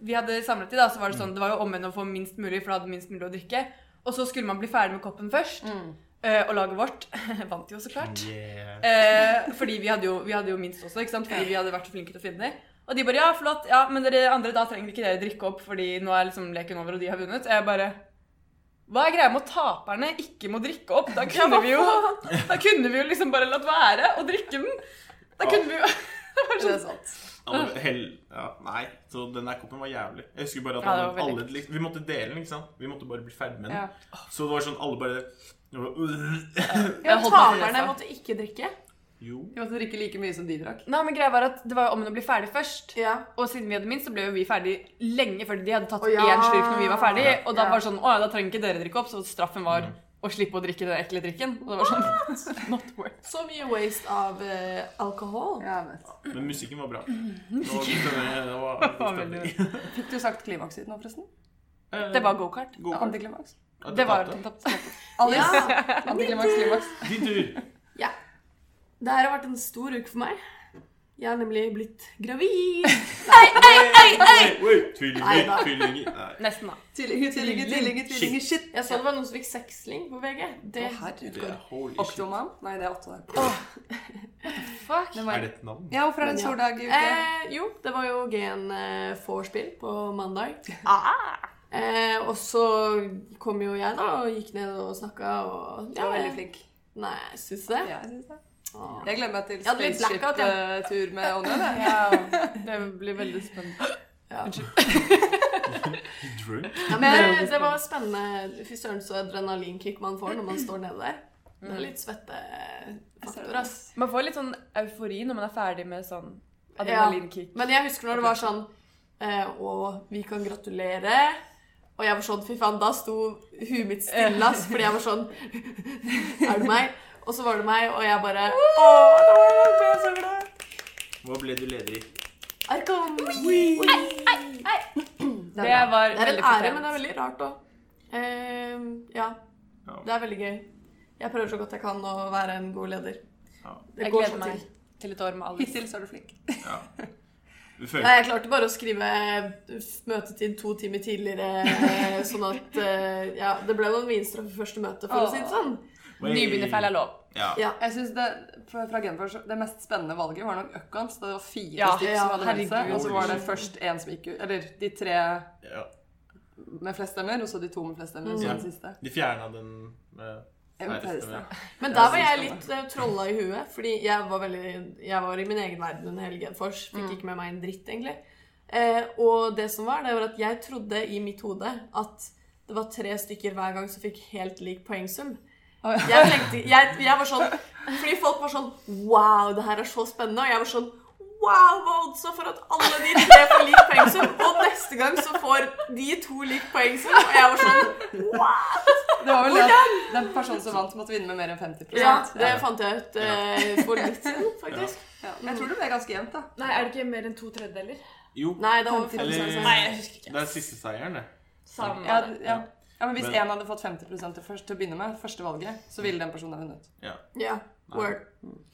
vi hadde samlet de, da, så var det sånn Det var jo omvendt å få minst mulig, for da hadde minst mulig å drikke. Og så skulle man bli ferdig med koppen først.
Mm.
eh, og laget vårt vant jo, så klart.
Yeah.
Eh, fordi vi hadde, jo, vi hadde jo minst også, ikke sant? Fordi vi hadde vært så flinke til å finne dem. Og de bare ja, flott, ja, men dere andre, da trenger ikke dere drikke opp, fordi nå er liksom leken over, og de har vunnet. Jeg bare Hva er greia med at taperne ikke må drikke opp? Da kunne vi jo, da kunne vi jo liksom bare latt være å drikke den. Da kunne vi jo
Det er sant.
Alle- hell- ja, nei, så den der koppen var jævlig. Jeg husker bare at
Ja, det
alle-
var veldig
alle, liksom, Vi måtte dele den, ikke sant? Vi måtte bare bli ferdig med den.
Ja.
Så det var sånn alle bare
Ja,
Jeg holdt meg for
taperne
nesa.
måtte ikke drikke.
Jo.
Vi måtte drikke like mye som de drakk.
Nei, men greia var at Det var jo om å bli ferdig først.
Ja.
Og siden vi hadde minst, så ble jo vi ferdig lenge før de hadde tatt
Å, ja.
én slurk når vi var ferdig.
Ja.
Og da
Ja.
var det sånn Å ja, da trenger ikke dere drikke opp. Så
Mm.
straffen var å slippe å drikke den ekle drikken. Og det var sånn Not worth
Så mye waste av eh, alkohol.
Ja, vet.
Men musikken var bra. Det var, det var, det var,
var
stemning.
veldig-
Fikk du sagt klimaks ditt nå, forresten?
Eh,
Det var gokart.
god kort.
Antiklimaks.
Ja, du
Det var
tapte.
Alice.
Ja.
Antiklimaks, klimaks.
Din tur.
Det her har vært en stor uke for meg. Jeg har nemlig blitt gravid.
Oi,
Nei
Tvillinger,
da.
tvillinger Nei.
Nesten, da.
Tvillinger, tvillinger, tvillinger, tvillinger. Shit.
Jeg så det var noen som fikk seksling på VG. Det,
Å, herregud.
Det er holy shit.
Oktoman? Nei, det er Otto.
Fuck.
Er
Det var...
det et navn?
Ja, hvorfor er det en
Ja.
soldag i uke? Ah.
eh, jo, det var jo Gen eh, vorspiel på mandag. Eh, og så kom jo jeg, da, og gikk ned og snakka og
Du var veldig flink.
Nei, syns du det?
Ja, jeg synes det.
Åh.
Jeg gleder meg til
Jeg hadde litt blackout,
spaceship-tur med Anja. det.
Det blir veldig spennende.
Ja.
Drunk?
Ja, men det, det var spennende. Fy søren så adrenalinkick man får når man står nede der. Det er litt svettefaktor, ass.
Man får litt sånn eufori når man er ferdig med sånn
adrenalinkick. Men jeg husker når det var sånn eh, Å, vi kan gratulere. Og jeg var sånn, fy faen, da sto huet mitt stille, ass, fordi jeg var sånn Er det meg? Og så var det meg, og jeg bare Å, da ble jeg så glad.
Hva ble du leder i?
Arkom.
Det, var
Det er en
veldig
ære,
fortjent.
men det er veldig rart òg. ja.
Ja.
Det er veldig gøy. Jeg prøver så godt jeg kan å være en god leder.
Ja.
Det
Jeg
går så
gleder meg
til.
til et år med Alice.
Hittil så er du flink.
ja. Du føler
Nei, jeg klarte bare å skrive eh, møtetid to timer tidligere, sånn at eh, Ja, det ble noen vinstraffer første møte, for å si det sånn.
Oi.
Nybegynnerfeil er lov.
Ja.
Ja.
Jeg synes det, fra fra Genfors, det mest spennende valget var nok Økkans. Det var fire
Ja,
stykker
ja,
som hadde meldt seg.
herregud.
Og så var det først en som gikk ut. Eller de tre
ja.
med flest stemmer, og så de to med flest stemmer, og så
Ja.
den siste.
De fjerna den eh, med
Jeg var ferdig snart.
Men
Ja,
der var jeg
synes
litt eh, trolla i huet, fordi jeg var, veldig, jeg var i min egen verden under hele Genfors. Fikk ikke med meg en dritt, egentlig. Eh, og det som var, det var at jeg trodde i mitt hode at det var tre stykker hver gang som fikk helt lik poengsum. Jeg tenkte, jeg, jeg var sånn Fordi folk var sånn Wow, det her er så spennende. Og jeg var sånn Wow, hva oddsa for at alle de tre får lik poengsum? Og neste gang så får de to lik poengsum. Og jeg var sånn
Det var vel det at den personen som vant, måtte vinne med mer enn 50
Ja, det
Ja.
fant jeg ut eh, for litt siden, faktisk.
Ja. Men Jeg tror det ble ganske jevnt, da.
Nei, er det ikke mer enn to tredjedeler?
Jo,
Nei, det var
Eller-
Nei, jeg husker
det er siste seieren, det.
Samme.
Ja, d- ja.
Ja.
ja, men Hvis
Men-
en hadde fått 50 til, først, til å begynne med, første valget, så ville den personen ha vunnet.
Ja, word.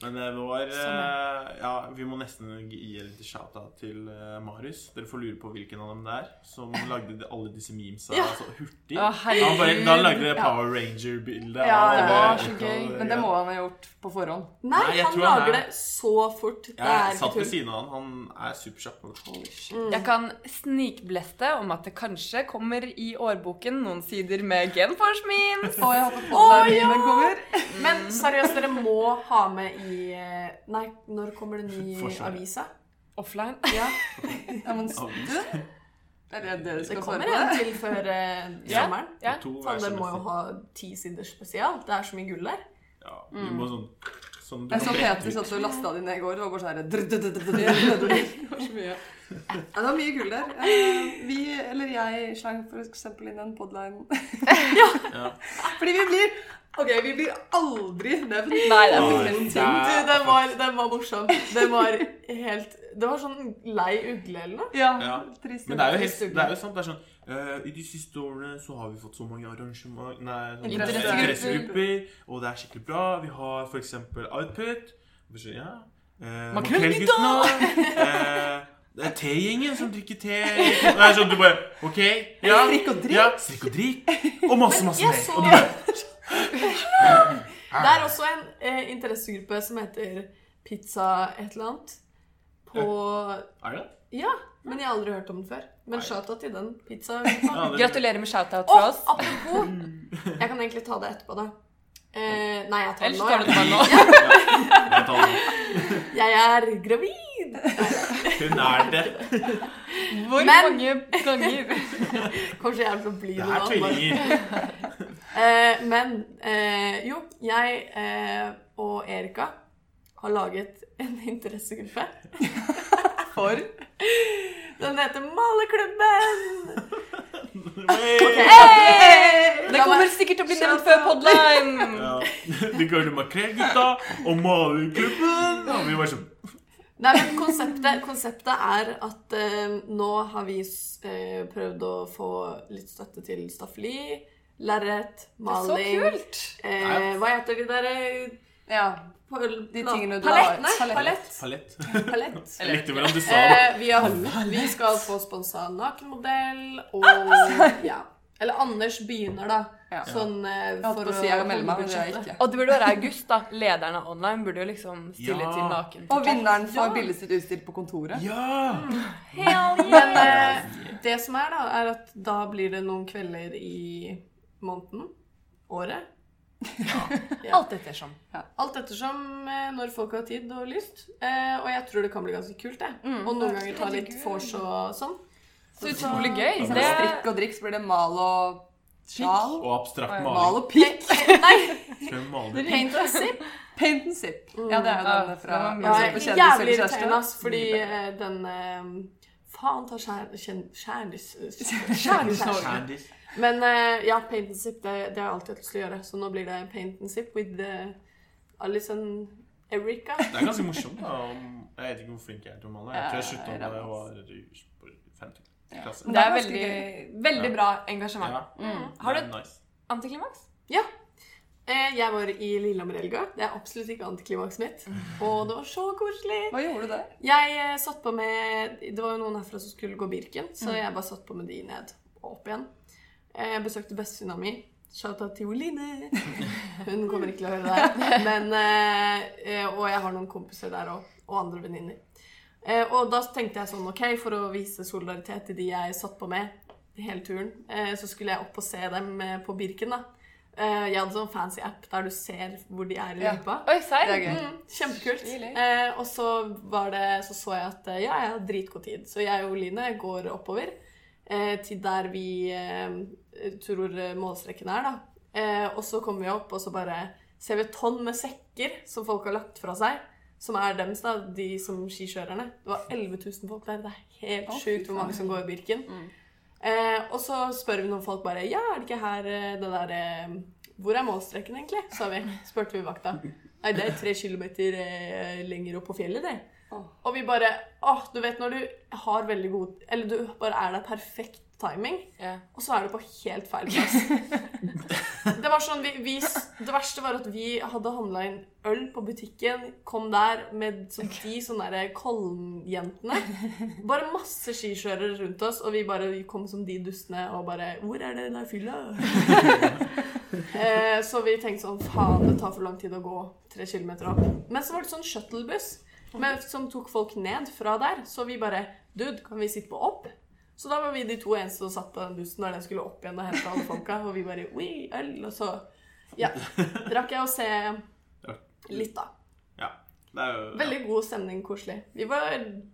Men det var eh, Ja, vi må nesten gi en liten shout-out til eh, Marius. Dere får lure på hvilken av dem det er som lagde de- alle disse memesa
Ja.
så hurtig.
Å, herregud.
Han, bare, han lagde det Power Ranger-bildet. av
Ja, det
alle
var
så
Ekko-
gøy.
Men det må han ha gjort på forhånd.
Nei,
Nei, jeg
han
tror han
lager
er-
det så fort. Det er
Jeg
ikke
satt ved
tull.
siden av han. Han er superkjapp. Holy shit.
Jeg kan snikbleste om at det kanskje kommer i årboken noen sider med genfors memes.
Å, jeg håper på
Å,
det er min kommer.
Men seriøst, dere må ha med i eh, Nei, når kommer det ny
Forsvaret.
avisa?
Offline.
Ja,
Ja, men s- du? Er det det du
Det
skal svare
kommer
på?
en
det?
til før eh,
Ja.
sommeren.
Ja.
To
Faen, dere må jo
SMS-er.
ha ti sider spesial. Det er så mye gull der.
Ja, vi må sånn, sånn du
Jeg så
kan brette
Peter
ut.
satt og lasta det ned i går. Det var bare sånn her drr, drr, drr, drr, drr, drr. Ja, det var mye gull der. Eh, Vi, eller jeg, slang for eksempel inn en podline.
Ja.
Fordi vi blir Ok, vi blir aldri nevnt.
Nei, det er
Nei,
en ting.
det er-
Du, den var, den var morsom. Den var helt Det var sånn lei ugle eller noe.
Ja,
Ja.
trist.
Men det er jo, helt,
Trist uke.
det er jo sant. Det er sånn eh, I de siste årene så har vi fått så mange arrangement Nei, sånn,
Interessegrupper.
interessegrupper. Og det er skikkelig bra. Vi har for eksempel Output. og så, Ja. eh,
Makrellgutta!
Makrellguttene. eh, det er T-gjengen som drikker te. Nei, sånn du bare OK. Ja.
Strikk og drikk.
Ja, strikk og drikk. Og masse, masse
jeg
mer.
så-
Og du bare
Det er også en eh, interessegruppe som heter Pizza et eller annet. På
Er det det?
Ja, men jeg har aldri hørt om den før. Men
Nei.
shoutout til den pizza.
Ja, det-
Gratulerer med shoutout
Å,
fra oss.
apropos! Jeg kan egentlig ta det etterpå, da. Eh, nei, jeg tar
Ellers
den
så tar du
nå.
det bare nå.
Jeg tar den.
Jeg, jeg er gravid!
Hun er det.
Hvor
Men-
mange ganger?
Kanskje jeg er så blid
Det
nå.
er
bare-
tvillinger.
Eh, men eh, jo, jeg eh, og Erika har laget en interessegruppe.
For
Den heter Maleklubben!
Hey!
Det kommer sikkert til å bli nevnt før podline.
Ja. De kaller det Makrellgutta og Malerklubben. Og vi var sånn
Nei, men konseptet, konseptet er at eh, nå har vi s- eh, prøvd å få litt støtte til staffeli, lerret,
Så
maling
kult.
Eh, hva heter de der eh,
Ja.
pal
De tingene du
palett,
har-
Nei,
palett.
palett.
Palett.
palett.
Jeg likte hvordan du sa det.
Eh, vi, har, vi skal få sponsa nakenmodell og ja. Eller Anders begynner, da.
Ah, Ja.
Sånn eh,
Jeg holdt på å si jeg vil melde meg, men det gjør jeg
budsjettet.
ikke.
Og det burde være August, da. Lederen av online burde jo liksom stille
Ja.
til naken.
Og vinneren får bildet sitt utstilt på kontoret.
Ja!
Men eh, det som er, da, er at da blir det noen kvelder i måneden. Året.
Alt ettersom.
sånn. Alt ettersom eh, når folk har tid og lyst. Eh, og jeg tror det kan bli ganske kult, det. og noen ganger ta litt vors og sånn.
Så utrolig gøy.
Så med
Det,
strikk og drikk så blir det mal og sjal.
Og abstrakt
Mal
maling.
og pikk.
Tror jeg maler.
Paint and sip.
Paint and sip. Ja, det er jo den fra
Mm. Ja,
altså, på Kjendis eller
jævlig
kjæreste.
irriterende, ass, fordi eh, den eh, Faen ta kjær- kjen- kjærlis... Kjærlis-Norge.
Kjendis.
Men eh, ja, paint and sip, det, det har jeg alltid hatt lyst til å gjøre. Så nå blir det paint and sip with eh, Alice and Erica.
Det er ganske morsomt. da om- Jeg vet ikke hvor flink jeg er til å male. Jeg tror jeg slutta med det da jeg var i femte klasse.
det er
ganske
veldig, veldig bra engasjement.
Ja.
Har
det er
du-
nice.
Antiklimaks?
Eh, jeg var i Lillehammer-helga. Det er absolutt ikke antiklimakset mitt. Og det var så koselig.
Hva gjorde du der?
Jeg eh, satt på med Det var jo noen herfra som skulle gå Birken, så jeg bare satt på med de ned og opp igjen. Eh, Jeg besøkte bestevenninna mi. Shouta til Oline. Hun kommer ikke til å høre det. Men, eh, eh, og jeg har noen kompiser der òg. Og andre venninner. Eh, Og da tenkte jeg sånn OK, for å vise solidaritet til de jeg satt på med hele turen, eh, så skulle jeg opp og se dem eh, på Birken, da. Eh, Jeg hadde sånn fancy app der du ser hvor de er i
Ja.
løypa.
Oi, serr?
Det er gøy.
Mm, kjempekult.
Stilig.
Eh, og så, var det, så så jeg at eh, ja, jeg har dritgod tid. Så jeg og Line går oppover eh, til der vi eh, tror eh, målstreken er, da. Eh, og så kommer vi opp, og så bare ser vi et tonn med sekker som folk har lagt fra seg. Som er dems, da, de som skikjørerne. Det var 11 000 folk der. Det er helt
Å, fy
sjukt hvor mange som går i Birken. Eh, og så spør vi noen folk bare Ja, er det ikke her eh, det der eh, Hvor er målstreken, egentlig? sa vi. Spurte vi vakta. Nei, det er tre kilometer eh, lenger opp på fjellet, det.
Åh.
Og vi bare Åh, du vet når du har veldig god Eller du bare er der perfekt timing,
Ja.
og så er du på helt feil plass. det var sånn, vi, vi, s- det verste var at vi hadde handla inn øl på butikken, kom der med som de sånne der Kollen-jentene. Bare masse skikjørere rundt oss, og vi bare vi kom som de dustene og bare 'Hvor er det der fylla?' eh, så vi tenkte sånn Faen, det tar for lang tid å gå tre kilometer opp. Men så var det sånn shuttlebuss med, som tok folk ned fra der. Så vi bare 'Dude, kan vi sitte på opp?' Så da var vi de to eneste som satt på den bussen når den skulle opp igjen og hente alle folka. Og vi bare «Oi, øl, og så Ja. Rakk jeg å se litt, da.
Ja. Det er jo
Veldig god stemning, koselig. Vi var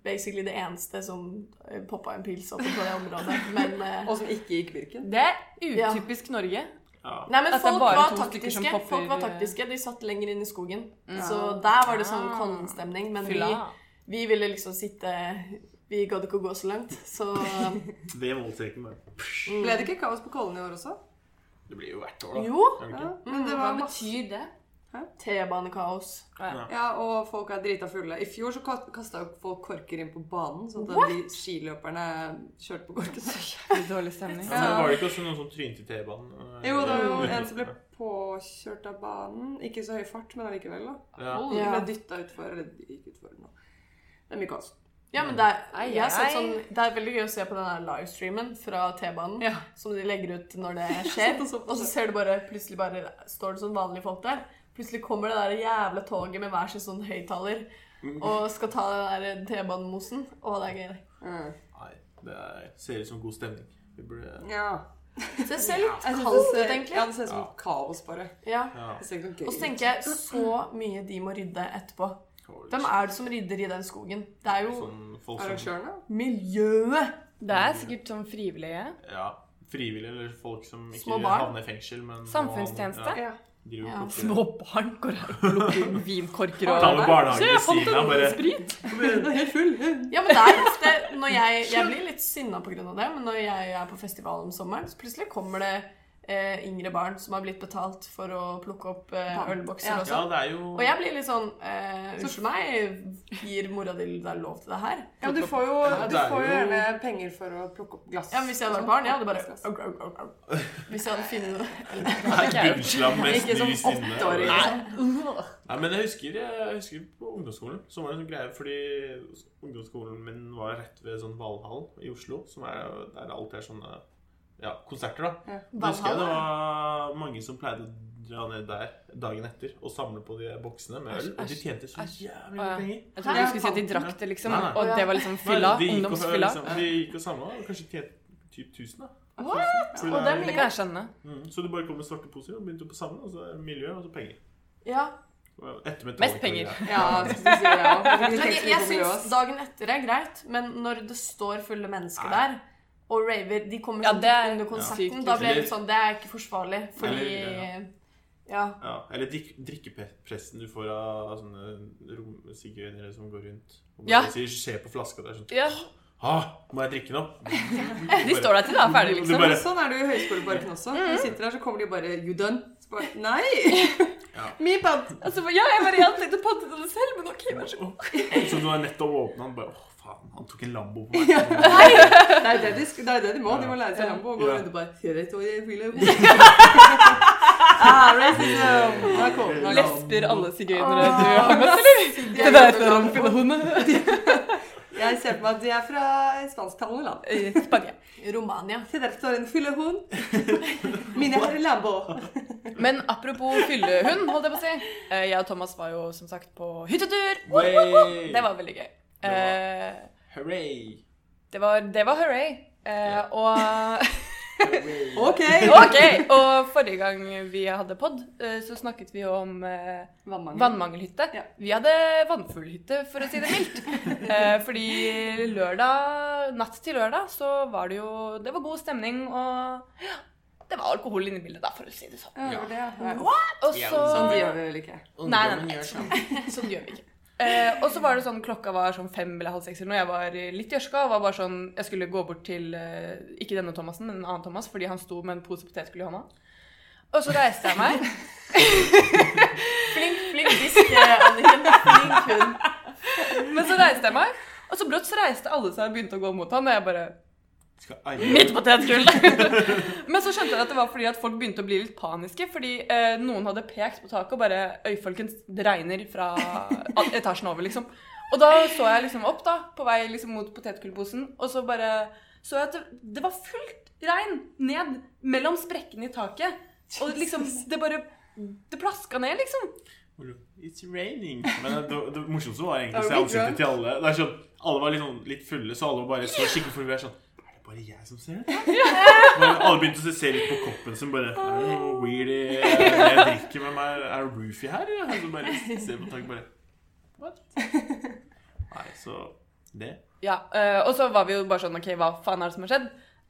basically det eneste som poppa en pils opp på det området. Men, eh,
Og som ikke gikk Birken.
Det er utypisk Norge.
ja.
nei, men
At det er
folk
bare
var
to stykker som
taktiske.
popper- eh, Mm.
Folk var taktiske, De satt lenger inn i skogen. Så der var det sånn
Ah.
Kollen-stemning. Men vi,
Fylla.
vi ville liksom sitte Vi gadd ikke å gå så langt. Så
Det målstreken bare
Mm.
Ble det ikke kaos på Kollen i år også?
Det blir jo hvert år, da.
jo,
Gjør det
Ja,
ikke?
Mm,
men det var masse
betyr det?
T-banekaos.
Ja, og folk er drita fulle. I fjor så kasta jo folk korker inn på banen, sånn at de skiløperne kjørte på korkene.
Litt dårlig stemning.
Ja, men var det ikke også noen som trynte i T-banen? eh,
Jo, det var jo en som ble
Ja.
påkjørt av banen. Ikke i så høy fart, men allikevel, da.
Ja.
De
Ja.
ble dytta utfor, eller de gikk utfor nå. Det er mye kaos.
Ja, men det er,
Ai,
jeg har sett
ai.
sånn, det er veldig gøy å se på den der livestreamen fra T-banen
Ja.
som de legger ut når det skjer.
Sånn og sånn.
og så ser du bare, plutselig bare står det sånn vanlige folk der. Plutselig kommer det der jævla toget med hver sin sånn høyttaler og skal ta den der T-banemosen. Å, det er gøy. Mm.
Nei, det er, ser ut som god stemning. Vi burde
Ja.
Så det ser litt
Jeg synes
kaldt ut,
det ser, ja,
egentlig.
det ser ut som
Ja.
kaos, bare.
Ja.
Ja.
Det ser ikke noe gøy
Og så tenker jeg så mye de må rydde etterpå. Hvem er det som rydder i den skogen? Det er jo
Sånn folk som
Arrangørene?
miljøet!
Det er sikkert sånn frivillige.
Ja, frivillige eller folk som ikke
Små barn.
havner i fengsel, men
Samfunnstjeneste.
Ja,
Ja.
driver
Ja.
ja.
Små barn går her og plukker vinkorker
Ta
og
med barnehagen
Se,
ved
jeg fant
siden av,
en
bare-
sprit!
Helt full.
Ja, men det er ofte når jeg, jeg blir litt sinna pga. det, men når jeg er på festival om sommeren, så plutselig kommer det eh, yngre barn som har blitt betalt for å plukke opp eh, ølbokser
Ja,
og sånn.
det er jo
Og jeg blir litt sånn eh, Unnskyld meg, gir mora di deg lov til det her?
Ja, du får jo,
Ja,
du
det er
får jo
jo-
gjerne penger for å plukke opp glass.
Ja, men Hvis jeg hadde vært barn, jeg hadde bare au, au, au, au. Hvis jeg hadde funnet
Gulslam mest
Ikke som
nys inne.
åtteåring. liksom.
Nei, men jeg husker, jeg husker på ungdomsskolen. Så var det en sånn greie, fordi ungdomsskolen min var rett ved sånn Valhall i Oslo. Som er der det alltid er sånne ja, konserter, da.
Ja.
Da husker jeg det var mange som pleide å dra ned der dagen etter og samle på de boksene med øl. Og de tjente så
æsj.
jævlig mye
Å, ja.
penger.
Jeg trodde du skulle si at de drakk det, liksom.
Nei, nei.
Og det var liksom fylla.
Nei, de gikk og-
Ungdomsfylla.
Liksom, de gikk og samla og kanskje tjente typ 1000, da. Fordi
Og det er
Det
mye.
kan jeg skjønne.
Mm, så du bare kom med svarte poser og begynte å samle, og så miljø og så penger.
Ja.
Og Etter Metallica-
Mest penger.
Ja, skal vi si ja.
Men
Men
jeg, jeg syns dagen etter er greit, men når det står fulle mennesker
Nei.
der og raver De kommer
Ja,
sånn
det er
under konserten.
sykt.
Da blir det
Eller-
litt sånn Det er ikke forsvarlig, fordi
Eller-
Ja.
Ja, eller drikk, drikkepressen du får av sånne rom- sigøynere som går rundt og bare
Ja.
sier 'se på flaska' der sånn
Ja,
Ha, må jeg drikke nå?
De står der til det er ferdig,
Du
liksom.
bare-
Sånn er det jo i høyskoleparken også. Når du sitter der, så kommer de bare You done? Så bare, Nei! Me bad.
Altså, ja, jeg bare jeg hadde tenkt å pante det selv, men ok, vær så god.
Så du har nettopp åpna den, bare 'Å, faen, han tok en Lambo på meg'.
Det er det de, sk- det er det de må. De må lære seg Rambo og gå
Ja.
rundt og bare «Here it is, here it is». Ah, racism! Nå er kålen, nå er kålen.
Lesber alle sigøynere du har møtt, eller? Ah. Det der er rampehone.
Jeg ser på meg at de er fra spansktalende land.
Spania.
Romania.
Se der står en fyllehund. Mine herrer Lambo.
Men apropos fyllehund, holdt jeg på å si. Eh, Jeg og Thomas var jo som sagt på hyttetur.
Way!
Det var veldig gøy.
var-
Eh,
Hooray!
Det var, det var hurray. Eh,
Ja.
og,
Hooray.
Ok.
ok, og forrige gang vi hadde pod, eh, så snakket vi om eh,
Vannmangel.
vannmangelhytte.
Ja.
Vi hadde vannfuglhytte, for å si det mildt. Eh, fordi lørdag, natt til lørdag så var det jo Det var god stemning, og ja, det var alkohol inne i bildet, da, for å si det sånn.
Ja, det var det, ja.
Og så
Sånn de gjør vi vel ikke.
Nei, nei,
Ungdommen
nei.
gjør sånn.
Sånn gjør vi ikke. Eh, og så var det sånn, Klokka var sånn fem eller halv seks, eller noe. jeg var eh, litt gjørska. og var bare sånn, Jeg skulle gå bort til eh, ikke denne Thomasen, men en annen Thomas, fordi han sto med en pose potetgull i hånda. Og så reiste jeg meg.
Flink, flink disk, eh, Anniken. Flink hund.
men så reiste jeg meg, Og så brått så reiste alle seg og begynte å gå mot han, og jeg bare
Skal eie
Mitt potetgull! Men så skjønte jeg at det var fordi at folk begynte å bli litt paniske. Fordi eh, noen hadde pekt på taket og bare Øy, folkens, det regner fra etasjen over, liksom. Og da så jeg liksom opp, da, på vei liksom mot potetgullposen, og så bare så jeg at det, det var fullt regn ned mellom sprekkene i taket. Og liksom Det bare Det plaska ned, liksom.
It's raining. Men det, det morsomste var egentlig å se
Are we
ansiktet til alle. Det er sånn, Alle var litt sånn litt fulle, så alle var bare så skikkelig forvirret. Sånn, er det bare jeg som ser det? Bare, alle begynte å se litt på koppen som bare Er det noe weird i jeg drikker med meg? Er det Roofie her? eller?» Og så bare ser på taket bare What? Nei, så det.
Ja, eh, og så var vi jo bare sånn, ok, hva faen er det som har skjedd?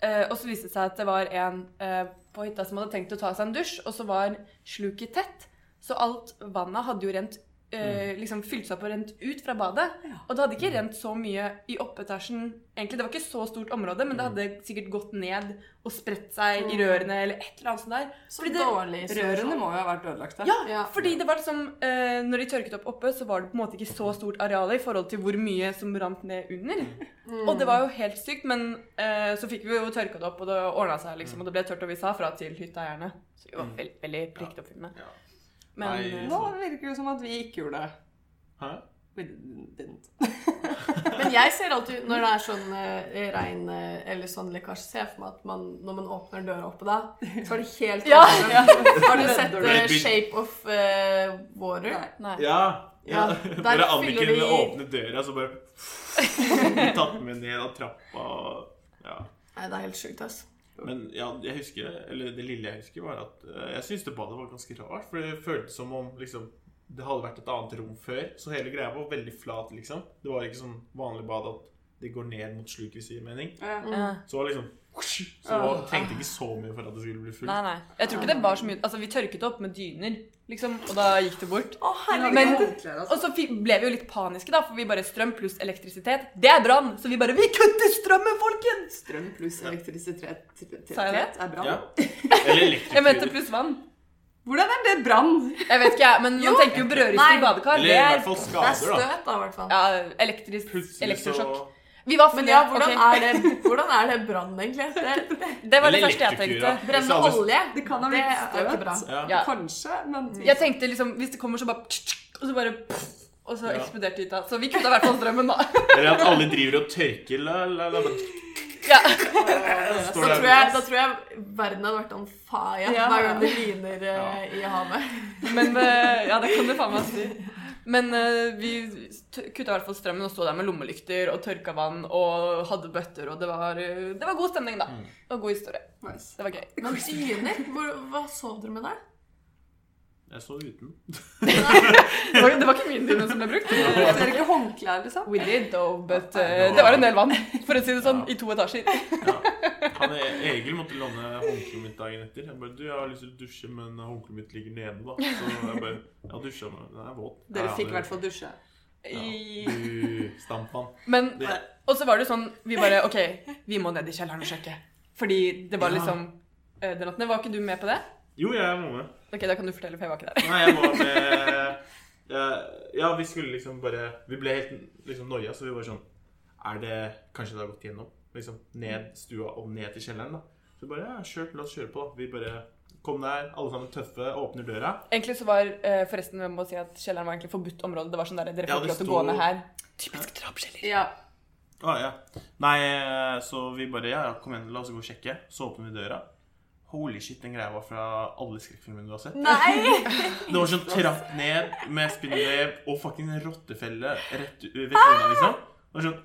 Eh, og så viste det seg at det var en eh, på hytta som hadde tenkt å ta seg en dusj, og så var sluket tett, så alt vannet hadde jo rent, eh, liksom fylt seg opp og rent ut fra badet, og det hadde ikke rent så mye i oppetasjen, egentlig, det var ikke så stort område, men det hadde sikkert gått ned og spredt seg i rørene, eller et eller annet sånt der.
Så
Fordi det-
dårlig. så-
Rørene må jo ha vært ødelagte.
Ja,
Ja.
fordi det var liksom, eh, når de tørket opp oppe, så var det på en måte ikke så stort areal i forhold til hvor mye som rant ned under. Og det var jo helt sykt, men eh, så fikk vi jo tørka det opp, og det ordna seg, liksom. Og det ble tørt, og vi sa fra til hytteeierne. Så vi var veldig, veldig pliktoppfyllende.
Ja.
Men eh,
Nei.
Nå virker det som at vi ikke gjorde det.
Hæ?
We didn't.
Men jeg ser alltid, når det er sånn eh, regn eh, eller sånn lekkasje, ser jeg for meg at man, når man åpner døra oppe da, så er det helt
Ja.
åpent. Har du sett eh,
Maybe.
Shape of eh, Water?
Nei.
Nei.
Ja. ja.
Ja, der
Bare
fyller
Anniken
vi-
åpner døra, så bare Tatt med ned av trappa og Ja.
Nei, det er helt sjukt, ass.
Men ja, jeg husker, eller det lille jeg husker, var at eh, jeg syntes det badet var ganske rart. For det føltes som om liksom, det hadde vært et annet rom før. Så hele greia var veldig flat, liksom. Det var ikke sånn vanlig bad at det går ned mot sluket, hvis det gir mening.
Ja.
Ja.
Så det var liksom Så det var, trengte ikke så mye for at det skulle bli fullt.
Nei, nei. Jeg tror ikke det var så mye Altså, vi tørket opp med dyner, liksom, og da gikk det bort.
Å, herregud.
Men-
Men
Og så fi- ble vi jo litt paniske, da, for vi bare strøm pluss elektrisitet. Det er brann! Så vi bare Vi kutter strømmen, folkens!
strøm pluss elektrisitet
Sa jeg det?
er brann.
Ja. Eller
Jeg mente
elektriker.
pluss vann.
Hvordan er det brann?
Jeg vet ikke, jeg, men man tenker jo brødriste
Nei.
i badekar.
Eller i
Det er
hvert fall
Det er
skader, da.
støt, da, i hvert fall.
ja, elektrisk,
Plutselig så
elektrosjokk. Vi var
Men ja,
flere,
hvordan
ok.
er det, hvordan er det brann, egentlig? Det,
Det var sånn det
Eller
første jeg tenkte.
elektriker, da.
brenne
Hvis alle-
olje,
Det kan ha
det
blitt
er jo ikke bra.
støt.
Ja.
Ja.
Kanskje, men
Jeg tenkte liksom, hvis det kommer så bare Og så bare Og så
Ja.
eksploderte hytta. Så vi kutta i hvert fall strømmen, da.
Eller at alle driver og tørker la, la, la, bare-
Ja.
Da
Står der.
tror, jeg, da tror jeg verden hadde vært on fire
Ja.
hver gang det lyner eh, i havet.
Men eh, Ja, det kan du faen meg si. Men eh, vi t- kutta i hvert fall strømmen og sto der med lommelykter og tørka vann og hadde bøtter, og det var, eh, det var god stemning, da.
Mm.
Og god historie.
Nice.
Det var gøy.
Men dyner? Hvor, hva sov dere med der?
Jeg så uten.
Det var, det var ikke min dyne som ble brukt.
Så dere ikke håndklær, liksom?
We did, though, but eh, det var en del vann, for å si det sånn, i to etasjer.
Han E- Egil måtte låne håndkleet mitt dagen etter. Jeg bare, du, jeg har lyst til å dusje, men håndkleet mitt ligger nede, da. Så jeg bare, jeg har dusja, men den er våt.
Dere fikk i hvert fall dusje.
I-
Ja, du, stampmann.
Men,
Det-
og så var det sånn, vi bare, ok, vi må ned i kjelleren og sjekke. Fordi det var
Ja.
liksom, eh, den natten, var ikke du med på det?
Jo, jeg er med.
Ok, da kan du fortelle, for jeg var ikke der.
Nei, jeg var med ja, Ja, vi skulle liksom bare Vi ble helt liksom noia, så vi var sånn Er det Kanskje det har gått gjennom? Liksom ned stua og ned til kjelleren, da. Så vi bare ja, kjør, la oss kjøre på. da. Vi bare Kom der, alle sammen tøffe, åpner døra.
Egentlig så var, eh, forresten, jeg må si at kjelleren var egentlig forbudt område. Det var sånn der, dere
Ja,
får
det
ikke lov til å
sto-
gå ned her. Typisk drapskjeller.
Ja.
Å Ah, ja. Nei, eh, så vi bare Ja, ja, kom igjen, la oss gå og sjekke. Så åpner vi døra. Holy shit, den greia var fra alle skrekkfilmene du har sett.
Nei!
Det var sånn trapp ned med spindelvev og fucking rottefelle rett u- ved siden av, liksom. Det var sånn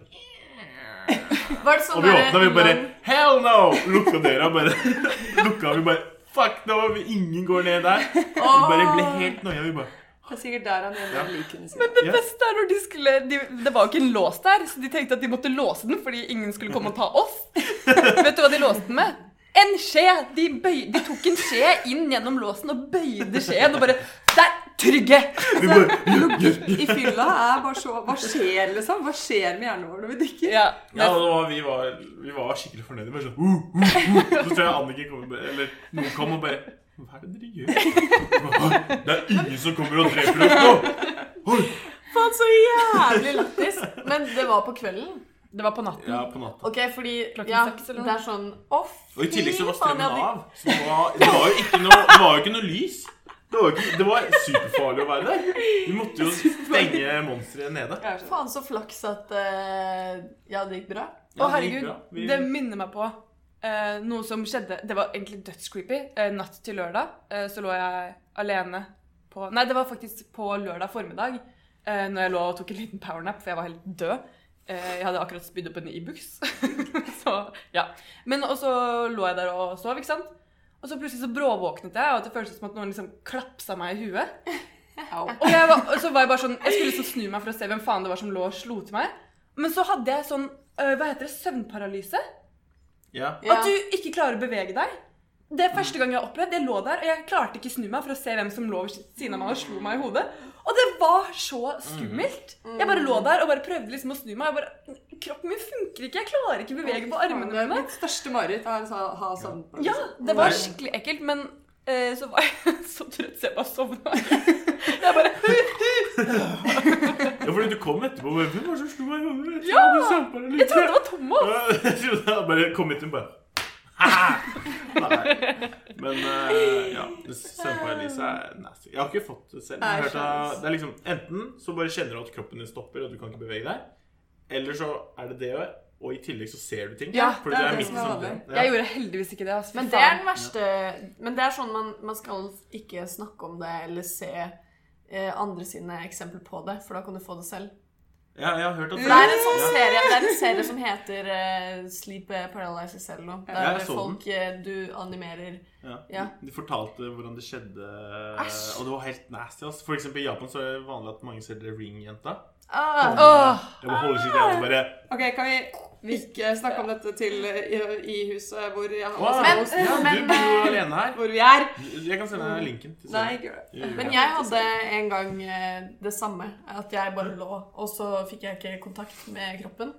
Var det sånn
Og vi
der-
åpna, vi bare
lang-
Hell no! Lukka døra, bare. Lukka, vi bare Fuck no! vi- Ingen går ned der. Vi bare ble helt noia. Vi bare
Det er sikkert der han gjemmer
Ja.
likene sine.
Men det
Ja.
beste er når de skulle, de, det var jo ikke en lås der, så de tenkte at de måtte låse den fordi ingen skulle komme og ta oss. Vet du hva de låste den med? En skje! De, bøy, de tok en skje inn gjennom låsen og bøyde skjeen og bare, der, trygge!
Vi bare
Logikk i fylla er bare så Hva skjer, liksom? Hva skjer med hjernen vår når vi drikker?
Ja,
Ja, det var, vi, var, vi var skikkelig fornøyde. Bare sånn uh, uh, uh. Så tror jeg Anniken kom, eller noen kom og bare Hva er det dere gjør? Det er ingen som kommer og dreper oss nå! Oi.
Faen, så jævlig lættis. Men det var på kvelden.
Det var på natten.
Ja, på natta.
Ok, fordi
Klokken
ja,
seks eller noe.
det er sånn Å, fy
Og i tillegg så var
faen,
strømmen
jeg hadde-
av. Så det var, det var jo ikke noe, det var jo ikke noe lys. Det var, jo ikke, det var superfarlig å være der. Vi måtte jo stenge monsteret nede.
Jeg skjønner.
Faen, så flaks at eh, ja, det gikk bra.
Ja,
Å,
det gikk
herregud.
bra. Vi-
Det minner meg på eh, noe som skjedde Det var egentlig dødscreepy. Eh, natt til lørdag eh, så lå jeg alene på Nei, det var faktisk på lørdag formiddag. Uh, når jeg lå og tok en liten powernap, for jeg var helt død. Eh, jeg hadde akkurat spydd opp en Ibux. så ja. Men og så lå jeg der og sov, ikke sant. Og så plutselig så bråvåknet jeg, og det føltes som at noen liksom klapsa meg i huet.
Au.
Og jeg var, og så var jeg bare sånn Jeg skulle liksom snu meg for å se hvem faen det var som lå og slo til meg. Men så hadde jeg sånn øh, Hva heter det? Søvnparalyse?
Ja.
Ja.
At du ikke klarer å bevege deg. Det er første gang jeg har opplevd. Jeg lå der, og jeg klarte ikke snu meg for å se hvem som lå ved siden av meg og slo meg i hodet. Og det var så skummelt. Jeg bare lå der og bare prøvde liksom å snu meg. Jeg bare, Kroppen min funker ikke. Jeg klarer ikke å bevege på armene
Det er
mine.
mitt største mareritt er å ha- ha sånn
Ja, det var
Nei.
skikkelig ekkelt, men eh, så var jeg så trøtt så jeg bare sovna. Jeg bare
ja, fordi du kom etterpå og bare Hvem var det som slo meg i hodet?
Ja! Jeg
Jeg
trodde det var Thomas.
Jeg trodde han bare kom hit og bare Nei. Men eh, ja, søvnparalyse er nasty. Jeg har ikke fått det selv. men Jeg har hørt at det er liksom, enten så bare kjenner du at kroppen din stopper, og du kan ikke bevege deg. Eller så er det det å gjøre, og i tillegg så ser du ting.
Ja,
fordi
det er
du
det
er midt i
som er
sånn
vanlig.
Jeg gjorde heldigvis ikke det. ass. Fy
Men det er
faen.
den verste Men det er sånn man, man skal ikke snakke om det eller se eh, andre sine eksempler på det, for da kan du få det selv.
Ja, jeg har hørt at
Det er en sånn serie, det er en serie som heter eh, Sleep Paralysis eller noe.
Ja,
Der
jeg så
folk eh, du animerer
Ja.
Ja.
De fortalte hvordan det skjedde,
Æsj.
og det var helt nasty. ass. For eksempel i Japan så er det vanlig at mange ser The Ring-jenta.
ah,
Åh,
Jeg bare holder sitt hjemme og bare
Ok, kan vi ikke snakke om dette til eh, i, i huset hvor, jeg,
Å,
Men-
ja, du
men-
bor jo alene her.
hvor vi er?
Jeg kan sende deg linken. til
Nei,
serien.
ikke gjør det.
Jo, jo.
Men jeg hadde en gang eh, det samme. At jeg bare lå, og så fikk jeg ikke kontakt med kroppen.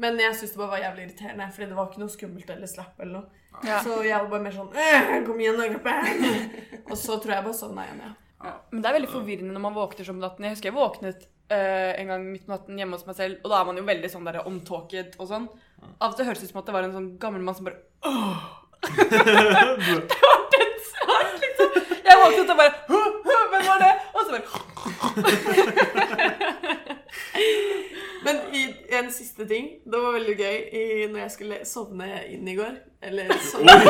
Men jeg syntes det bare var jævlig irriterende, Fordi det var ikke noe skummelt eller slapp. eller noe
Ja.
Så jeg var bare mer sånn «Øh, Kom igjen, da, kroppen! og så tror jeg bare sovna igjen, ja.
men det er veldig forvirrende når man våkner som natten. Jeg husker jeg våknet eh, en gang midt på natten hjemme hos meg selv, og da er man jo veldig sånn der omtåket og sånn. Av og til høres det ut som at det var en sånn gammel mann som bare
Du-
Svart, liksom. Jeg våknet og bare «Hå, hå, Hvem var det? Og så bare
Men i en siste siste ting. Det var veldig gøy i, når jeg skulle sovne inn i går. Eller sovne
Oi!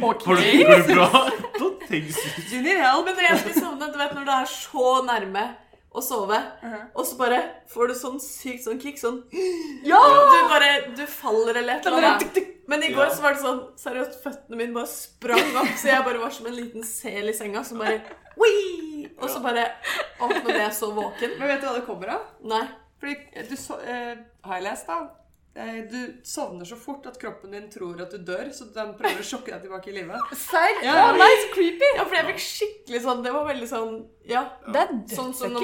Å, Gud, Har du, går det bra? Da tenker jeg
Junior help!
Men når jeg skulle sovne, du vet når du er så nærme å sove, og så bare får du sånn sykt sånn kick, sånn Du bare Du faller eller et eller annet. Men i går
Ja.
så var det sånn Seriøst, føttene mine bare sprang opp, så jeg bare var som en liten sel i senga som bare Wii! Og så bare Å, nå ble jeg så våken.
Men vet du hva det kommer av?
Nei.
Fordi eh, du so eh, Har jeg lest, da? Eh, Du sovner så fort at kroppen din tror at du dør, så den prøver å sjokke deg tilbake i livet.
Serr?
Ja.
Å nei, så creepy!
Ja, for jeg fikk skikkelig sånn Det var veldig sånn Ja.
Det er
Sånn som når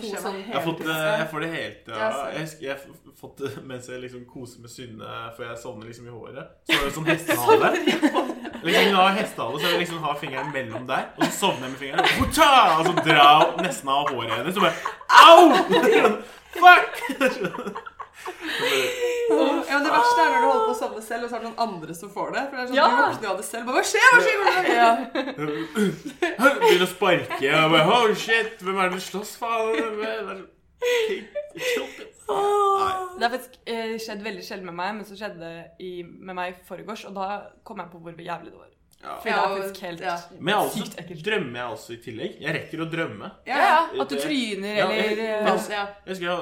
altså.
man
da.
tar
Ja, det skjer
sånn to
meg
sånn
Jeg har fått eh, det, jeg får det hele tida.
Ja, sant.
Jeg husker jeg har fått det mens jeg liksom koser med Synne, for jeg sovner liksom i håret. Så er det sånn hestehale. Liksom, når jeg har hestehale, så er det liksom har fingeren mellom der, og så sovner jeg med fingeren. og Hurra! Og så drar jeg nesten av håret hennes, og bare au! Fuck!
Ja, men Det verste er når du holder på å sovne selv, og så er det noen andre som får det. For det er sånn,
Ja.
du våkner jo av det selv. Bare, hva skjer? Hva skjer? Hva skjer?
Ja.
Begynner å sparke. Og jeg bare, oh shit, hvem er det du slåss for? Hvem er det-
Det har faktisk eh, skjedd veldig sjelden med meg, men så skjedde det i- med meg i forgårs, og da kom jeg på hvor jævlig det var.
Ja.
For det
Ja,
er faktisk helt
ja.
Men jeg
sykt
også, drømmer jeg også i tillegg. Jeg rekker å drømme.
Ja,
Ja,
ja. At du
Det-
tryner
Ja,
eller
jeg-
eh,
jeg- Jeg husker,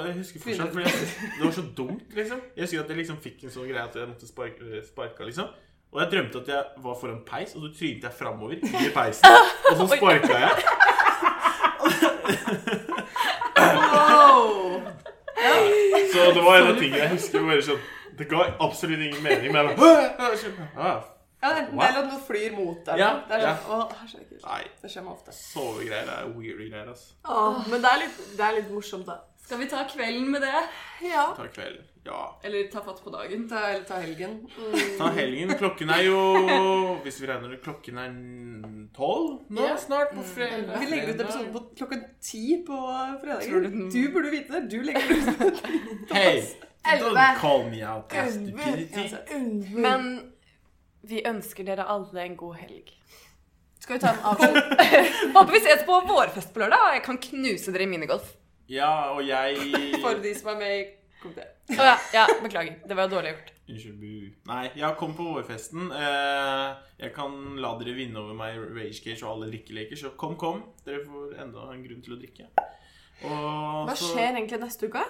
jeg husker fortsatt, fordi jeg, det var så dumt, liksom. Jeg husker at jeg liksom fikk en sånn greie at jeg måtte sparke, sparka, liksom. Og jeg drømte at jeg var foran peis, og så trynte jeg framover i peisen. Og så sparka jeg.
Wow.
Så det var en av tingene jeg husker bare sånn Det ga absolutt ingen mening, men jeg bare ah,
ja det er enten det, eller at noen flyr mot deg.
Ja,
Det er
ja.
sånn, å, her skjer det ikke.
Nei,
Det skjer meg ofte.
sovegreier er weirde greier, altså.
Åh, men det er, litt, det er litt morsomt, da.
Skal vi ta kvelden med det?
Ja.
Ta kvelden. Ja.
Eller ta fatt på dagen?
Ta, eller ta helgen.
Ta helgen. Klokken er jo Hvis vi regner det, klokken er tolv nå snart på fredag.
Mm. Vi legger ut episoden på klokken ti på
Tror
fredager.
du den-
Du burde vite det. Du legger ut
Hey, don't
Elleve.
call me out, stupidity.
uansett.
Men vi ønsker dere alle en god helg.
Skal vi ta en avslutning?
Håper vi ses på vårfest på lørdag, og jeg kan knuse dere i minigolf.
Ja, og jeg
for de som er med i komiteen.
Å ja, ja, beklager. Det var jo dårlig gjort.
Unnskyld, bu. Nei, jeg kom på vårfesten. Eh, jeg kan la dere vinne over meg i Rage Cage og alle drikkeleker, så kom, kom. Dere får enda en grunn til å drikke. Og
Hva
så-
skjer egentlig neste uke?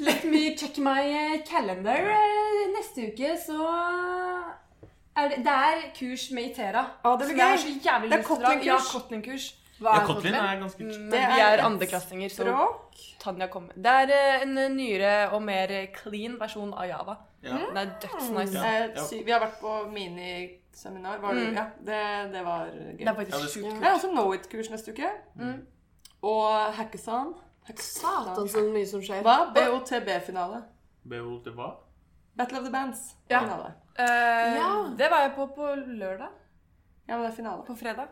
Let me check my eh, calendar. eh, Neste uke så er det, det er kurs med Itera.
Å, det blir gøy.
Så jeg har så jævlig
Det er
lyst til å dra. Ja,
Kotlin-kurs.
Kotlin-kurs.
Hva
Ja, Kotlin er ganske
Mm,
Mm.
Men
Det
vi
er
er
et
andreklassinger, så
Språk?
Tanja kommer. Det er eh, en nyere og mer clean versjon av Java.
ja.
Den er dødsnice.
Mm.
Ja.
Eh, sy- Vi har vært på miniseminar. Var det,
Mm.
ja, det, det var gøy.
Det er
Ja,
faktisk
det-
sjukt
Jeg
kult.
har også Know It-kurs neste uke.
Mm.
Og hackathon.
Satan, så mye Sånn som skjer.
Hva? BOTB-finale.
Behold til hva?
Battle of the Bands.
Ja.
Finale.
Eh,
Ja.
Det var jeg på på lørdag.
Ja, men det er finale.
På fredag.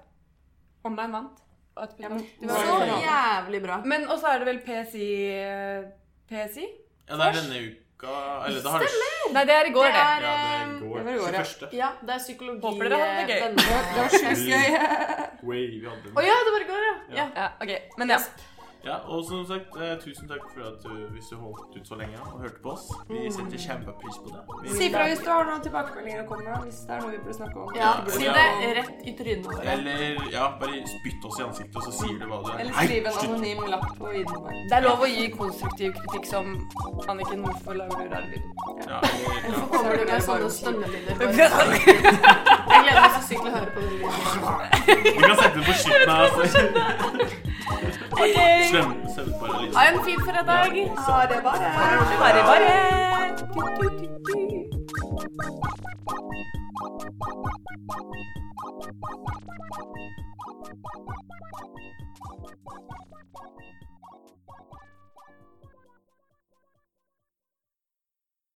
Online vant. Og et-
Ja, men, var
det var
Så
finale.
jævlig bra.
Men også er det vel PSI eh, PSI?
Ja, det er denne uka Eller det har det
Nei, det er i går,
Det
det.
er,
Ja,
eh,
det går.
det var i går, ja.
21.
Ja, det er psykologi... eh,
Håper dere hadde det gøy.
venner.
Det var sjukt gøy.
Way, vi hadde den.
Å ja, det var i går, ja. ja.
Ja, ok. Men ja.
Ja, og som sagt, eh, tusen takk for at du, hvis du holdt ut så lenge og hørte på oss. Vi setter kjempepris på det. Vi-
Mm. Si fra hvis du har noen tilbakemeldinger å komme med. Hvis det er noe vi burde snakke om.
ja. Si det rett i trynet vårt.
Eller ja, bare spytt oss i ansiktet, og så sier du hva du
Eller
Nei,
skriv en
slutt.
anonym lapp på videoen.
Det er lov å gi konstruktiv kritikk som Anniken, hvorfor lager du rar lyd?
Ja, eller, ja.
Hvorfor kommer du med
Bare-
sånne stønnelyder? bare? Jeg gleder meg så sykt til å høre på den videoen.
Vi kan sette det på slutten av oss. Slem, selvparalyse.
Ha en fin fredag.
Ha det bare.
Bare, bare.